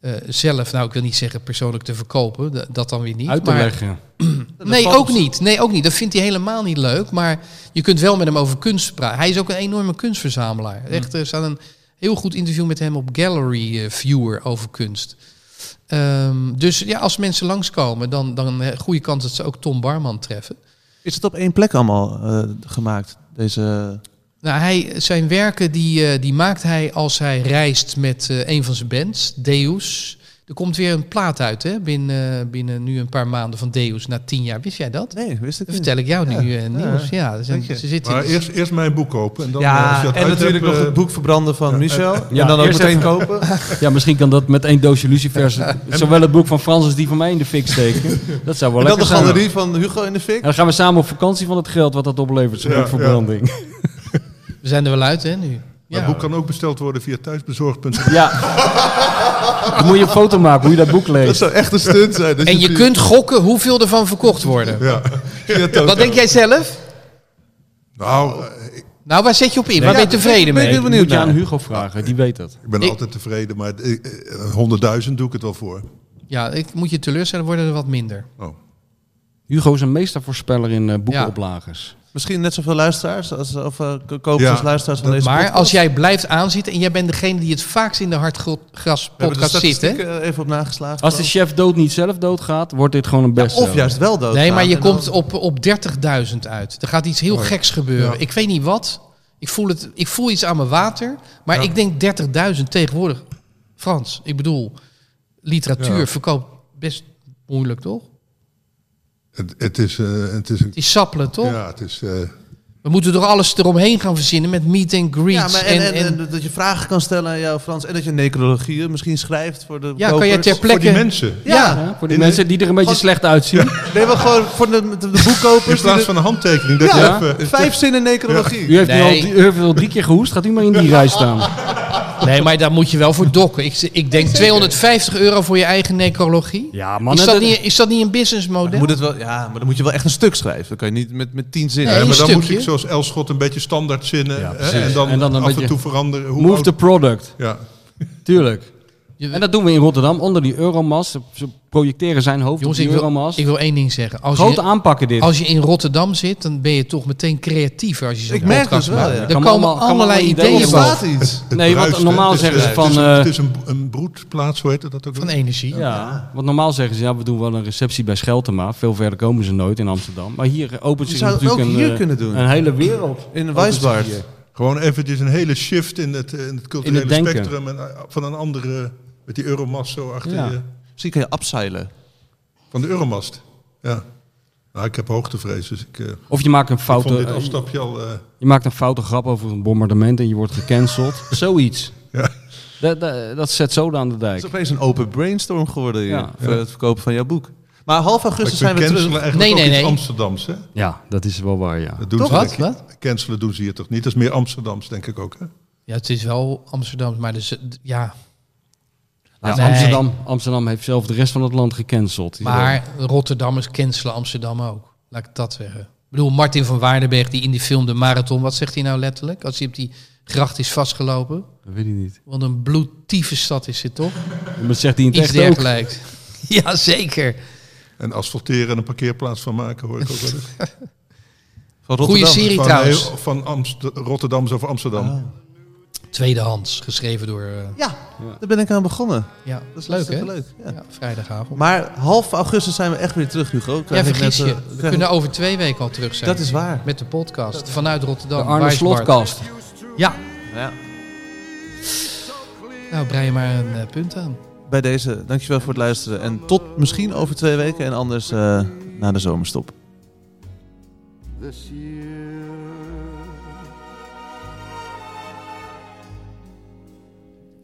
Speaker 3: eh, zelf, nou ik wil niet zeggen persoonlijk te verkopen, da- dat dan weer niet.
Speaker 1: Uit te
Speaker 3: maar-
Speaker 1: leggen.
Speaker 3: Nee,
Speaker 2: valt-
Speaker 3: ook niet. Nee, ook niet. Dat vindt hij helemaal niet leuk. Maar je kunt wel met hem over kunst praten. Hij is ook een enorme kunstverzamelaar. Echt, er staat een heel goed interview met hem op Gallery eh, Viewer over kunst. Ehm, dus ja, als mensen langskomen, dan, dan eh, goede kans dat ze ook Tom Barman treffen.
Speaker 2: Is het op één plek allemaal eh, gemaakt? Deze...
Speaker 3: Nou, hij, zijn werken die, eh, die maakt hij als hij reist met eh, een van zijn bands, Deus. Er komt weer een plaat uit, hè? Binnen, eh, binnen nu een paar maanden van Deus, na tien jaar. Wist jij dat?
Speaker 2: Nee, wist ik
Speaker 3: Dat
Speaker 2: niet.
Speaker 3: vertel ik jou
Speaker 2: Ja,
Speaker 3: nu eh, nieuws. Ja, ze, zijn-
Speaker 2: Dank je.
Speaker 3: ze zitten
Speaker 5: Maar eerst, eerst mijn boek kopen. En dan, eh, als je
Speaker 2: Ja,
Speaker 5: dat
Speaker 2: en
Speaker 5: uit
Speaker 2: natuurlijk
Speaker 5: hebt,
Speaker 2: nog
Speaker 5: eh,
Speaker 2: het boek verbranden van Michel.
Speaker 1: ja,
Speaker 2: en dan ook
Speaker 1: eerst
Speaker 2: meteen
Speaker 1: even-
Speaker 2: kopen.
Speaker 1: Ja, misschien kan dat met één doosje lucifers zowel het boek van Frans als die van mij in de fik steken. Dat zou wel
Speaker 2: En dan de
Speaker 1: lekker zijn.
Speaker 2: galerie van Hugo in de fik.
Speaker 1: En dan gaan we samen op vakantie van het geld wat dat oplevert, zo'n
Speaker 5: Ja,
Speaker 1: ja, verbranding.
Speaker 3: we zijn er wel uit, hè, nu.
Speaker 5: Maar
Speaker 3: Ja.
Speaker 5: het boek kan ook besteld worden via thuisbezorgd.nl.
Speaker 1: Ja. Dan moet je een foto maken hoe je dat boek
Speaker 2: Dat
Speaker 1: leest.
Speaker 2: zou echt een stunt zijn. Dus Dat
Speaker 3: En je
Speaker 2: via-
Speaker 3: kunt gokken hoeveel ervan verkocht worden.
Speaker 5: Ja. Ja, toch.
Speaker 3: Wat denk jij zelf?
Speaker 5: Nou, eh, ik-
Speaker 3: Nou, waar zet je op in? Waar ben je tevreden
Speaker 2: ben ik
Speaker 3: mee?
Speaker 2: heel benieuwd
Speaker 1: moet je
Speaker 2: naar.
Speaker 1: aan Hugo vragen, die weet dat.
Speaker 5: ik ben
Speaker 3: Ik-
Speaker 5: altijd tevreden, maar eh, eh, 100.000 doe ik het wel voor.
Speaker 3: Ja, ik moet je teleurstellen, worden er wat minder.
Speaker 5: Oh.
Speaker 1: Hugo is een meestervoorspeller in eh, boekenoplagers.
Speaker 2: Misschien net zoveel luisteraars als, of eh, k- kopers
Speaker 5: Ja.
Speaker 2: als luisteraars van deze
Speaker 3: Maar
Speaker 2: podcast.
Speaker 3: als jij blijft aanzitten en jij bent degene die het vaakst in de hartgras
Speaker 2: We hebben de
Speaker 3: podcast zit, hè?
Speaker 2: statistieken, eh, even op nageslagen.
Speaker 1: Als de chef dood niet zelf doodgaat, wordt dit gewoon een best.
Speaker 2: of juist wel dood.
Speaker 3: Nee, maar je
Speaker 2: En dan- Oh,
Speaker 3: komt op, op 30.000 uit. Er gaat iets heel geks gebeuren.
Speaker 5: Ja.
Speaker 3: Ik weet niet wat. Ik voel, het, ik voel iets aan mijn water. Maar ik denk 30.000 tegenwoordig. Frans, ik bedoel, literatuur
Speaker 5: Ja.
Speaker 3: verkoopt best moeilijk, toch?
Speaker 5: Het, het is, eh, het is een...
Speaker 3: Het is sappelen, toch?
Speaker 5: Ja, het is... eh,
Speaker 3: We moeten toch alles eromheen gaan verzinnen met meet and
Speaker 2: Ja,
Speaker 3: greets.
Speaker 2: maar en, en, en dat je vragen kan stellen aan jou, Frans. En dat je necrologieën misschien schrijft voor de
Speaker 3: ja, kan
Speaker 2: kopers.
Speaker 3: jij ter
Speaker 5: voor die
Speaker 3: plekke...
Speaker 5: mensen.
Speaker 2: Ja,
Speaker 1: Ja, voor die mensen die er een beetje
Speaker 2: Als-
Speaker 1: slecht uitzien.
Speaker 2: nee, maar gewoon voor de, de, de
Speaker 5: In
Speaker 2: boekkopers. die
Speaker 5: plaats
Speaker 2: de-
Speaker 5: van een handtekening. Dat
Speaker 2: Ja.
Speaker 5: je even,
Speaker 2: Vijf zinnen necrologie.
Speaker 1: U heeft, nu al,
Speaker 3: Nee.
Speaker 1: die- u heeft al drie keer gehoest, gaat u maar in die rij staan.
Speaker 3: Nee, maar daar moet je wel voor dokken. Ik, ik denk 250 euro voor je eigen necrologie.
Speaker 1: Ja,
Speaker 3: is,
Speaker 1: mannen,
Speaker 3: dat
Speaker 1: dat-
Speaker 3: niet, is dat niet een businessmodel?
Speaker 2: Moet het wel, ja, maar dan moet je wel echt een stuk schrijven. Dan kan je niet met, met tien zinnen.
Speaker 3: Nee,
Speaker 5: Ja, maar dan
Speaker 3: stukje.
Speaker 5: moet ik zoals Elschot een beetje standaard zinnen.
Speaker 1: Ja,
Speaker 5: hè,
Speaker 1: precies.
Speaker 5: en, dan
Speaker 1: En dan een
Speaker 5: af
Speaker 1: beetje-
Speaker 5: en toe veranderen. Hoe
Speaker 1: move
Speaker 5: oud-
Speaker 1: the product.
Speaker 5: Ja.
Speaker 1: Tuurlijk.
Speaker 3: Je-
Speaker 1: En dat doen we in Rotterdam, onder die Euromast. Ze projecteren zijn hoofd
Speaker 3: Jongens,
Speaker 1: op
Speaker 3: ik
Speaker 1: die
Speaker 3: wil,
Speaker 1: Euromast.
Speaker 3: ik wil één ding zeggen. Als
Speaker 1: Groot
Speaker 3: je,
Speaker 1: aanpakken dit.
Speaker 3: als je in Rotterdam zit, dan ben je toch meteen creatiever als je zo'n
Speaker 2: Ik merk
Speaker 3: podcast
Speaker 2: het wel,
Speaker 3: maakt.
Speaker 2: ja.
Speaker 3: Er
Speaker 1: Kan
Speaker 3: komen
Speaker 1: allemaal- kan
Speaker 3: allerlei
Speaker 1: allemaal
Speaker 3: ideeën
Speaker 2: Er
Speaker 1: ideeën
Speaker 3: van,
Speaker 2: staat iets.
Speaker 5: Het
Speaker 1: Nee, want
Speaker 5: bruist, hè.
Speaker 1: normaal
Speaker 5: Het is,
Speaker 1: zeggen ze
Speaker 5: eh,
Speaker 1: van,
Speaker 5: Het is,
Speaker 1: eh,
Speaker 5: het is een, een broedplaats, hoe heet dat ook?
Speaker 3: van energie.
Speaker 1: Ja, want normaal zeggen ze, ja, we doen wel een receptie bij Scheltema. Veel verder komen ze nooit in Amsterdam. Maar hier eh, opent
Speaker 2: Je
Speaker 1: zich
Speaker 2: zou het
Speaker 1: natuurlijk
Speaker 2: ook
Speaker 1: een,
Speaker 2: hier
Speaker 1: eh,
Speaker 2: kunnen doen.
Speaker 1: een hele wereld.
Speaker 2: In Wijsbaard.
Speaker 5: Gewoon eventjes een hele shift in het, eh, in het culturele
Speaker 1: In het denken.
Speaker 5: spectrum. En, eh, van een andere, met die Euromast zo achter
Speaker 1: Ja.
Speaker 5: je.
Speaker 2: Misschien kan je upseilen.
Speaker 5: Van de Euromast. Ja. Nou, ik heb hoogtevrees, dus ik eh,
Speaker 1: Of je maakt een foute,
Speaker 5: vond dit
Speaker 1: eh,
Speaker 5: afstapje al... eh,
Speaker 1: je maakt een foute grap over een bombardement en je wordt gecanceld. Zoiets.
Speaker 5: Ja.
Speaker 1: Dat, dat, dat zet zoden aan de
Speaker 2: Het
Speaker 1: dijk.
Speaker 2: is opeens een open brainstorm geworden hier,
Speaker 1: Ja.
Speaker 2: voor het verkopen van jouw boek. Maar half augustus
Speaker 5: maar
Speaker 2: zijn
Speaker 5: ik
Speaker 2: we
Speaker 5: vind cancelen
Speaker 2: terug.
Speaker 5: eigenlijk
Speaker 3: Nee,
Speaker 5: ook
Speaker 3: nee,
Speaker 5: iets
Speaker 3: nee.
Speaker 5: Amsterdams, hè?
Speaker 1: Ja, dat is wel waar, ja.
Speaker 5: Dat doen
Speaker 3: Toch?
Speaker 5: ze
Speaker 3: Wat?
Speaker 5: denk ik. Cancelen doen ze hier toch niet? Dat is meer Amsterdams, denk ik ook, hè?
Speaker 3: Ja, het is wel Amsterdam, maar dus, eh, d- ja.
Speaker 1: Ja,
Speaker 3: Nee.
Speaker 1: Nou, Amsterdam, Amsterdam heeft zelf de rest van het land gecanceld.
Speaker 3: Maar Rotterdammers cancelen Amsterdam ook. Laat ik dat zeggen. Ik bedoel, Martin van Waardenberg, die in die film De Marathon, wat zegt hij nou letterlijk? Als hij op die gracht is vastgelopen.
Speaker 1: Dat weet ik niet.
Speaker 3: Want een bloedtieve stad is dit toch?
Speaker 1: Maar dat zegt hij in het
Speaker 3: Iets
Speaker 1: echt ook.
Speaker 3: dergelijks. Jazeker.
Speaker 5: En asfalteren en een parkeerplaats van maken, hoor ik ook wel eens.
Speaker 2: Van
Speaker 3: Goeie
Speaker 2: Rotterdam.
Speaker 3: serie
Speaker 5: Van,
Speaker 3: trouwens.
Speaker 5: nee, van Amst Rotterdams over Amsterdam.
Speaker 3: Tweedehands, geschreven door... eh,
Speaker 2: Ja, daar ben ik aan begonnen.
Speaker 3: ja, dat
Speaker 2: Dat is
Speaker 3: is leuk, hè?
Speaker 2: hartstikke leuk. Ja.
Speaker 3: Ja, vrijdagavond.
Speaker 2: Maar half augustus zijn we echt weer terug, Hugo.
Speaker 3: ja,
Speaker 2: Krijg ik
Speaker 3: vergis
Speaker 2: net,
Speaker 3: je.
Speaker 2: eh,
Speaker 3: We
Speaker 2: krijg
Speaker 3: kunnen
Speaker 2: ik-
Speaker 3: over twee weken al terug zijn.
Speaker 2: Dat is waar.
Speaker 3: Met de podcast vanuit Rotterdam.
Speaker 1: De Arne
Speaker 3: Waar is Bart?
Speaker 1: Slotkast.
Speaker 3: Ja.
Speaker 2: Ja.
Speaker 3: Nou, brei je maar een eh, punt aan.
Speaker 2: Bij deze, dankjewel voor het luisteren. En tot misschien over twee weken en anders eh, na de zomerstop.
Speaker 4: this year.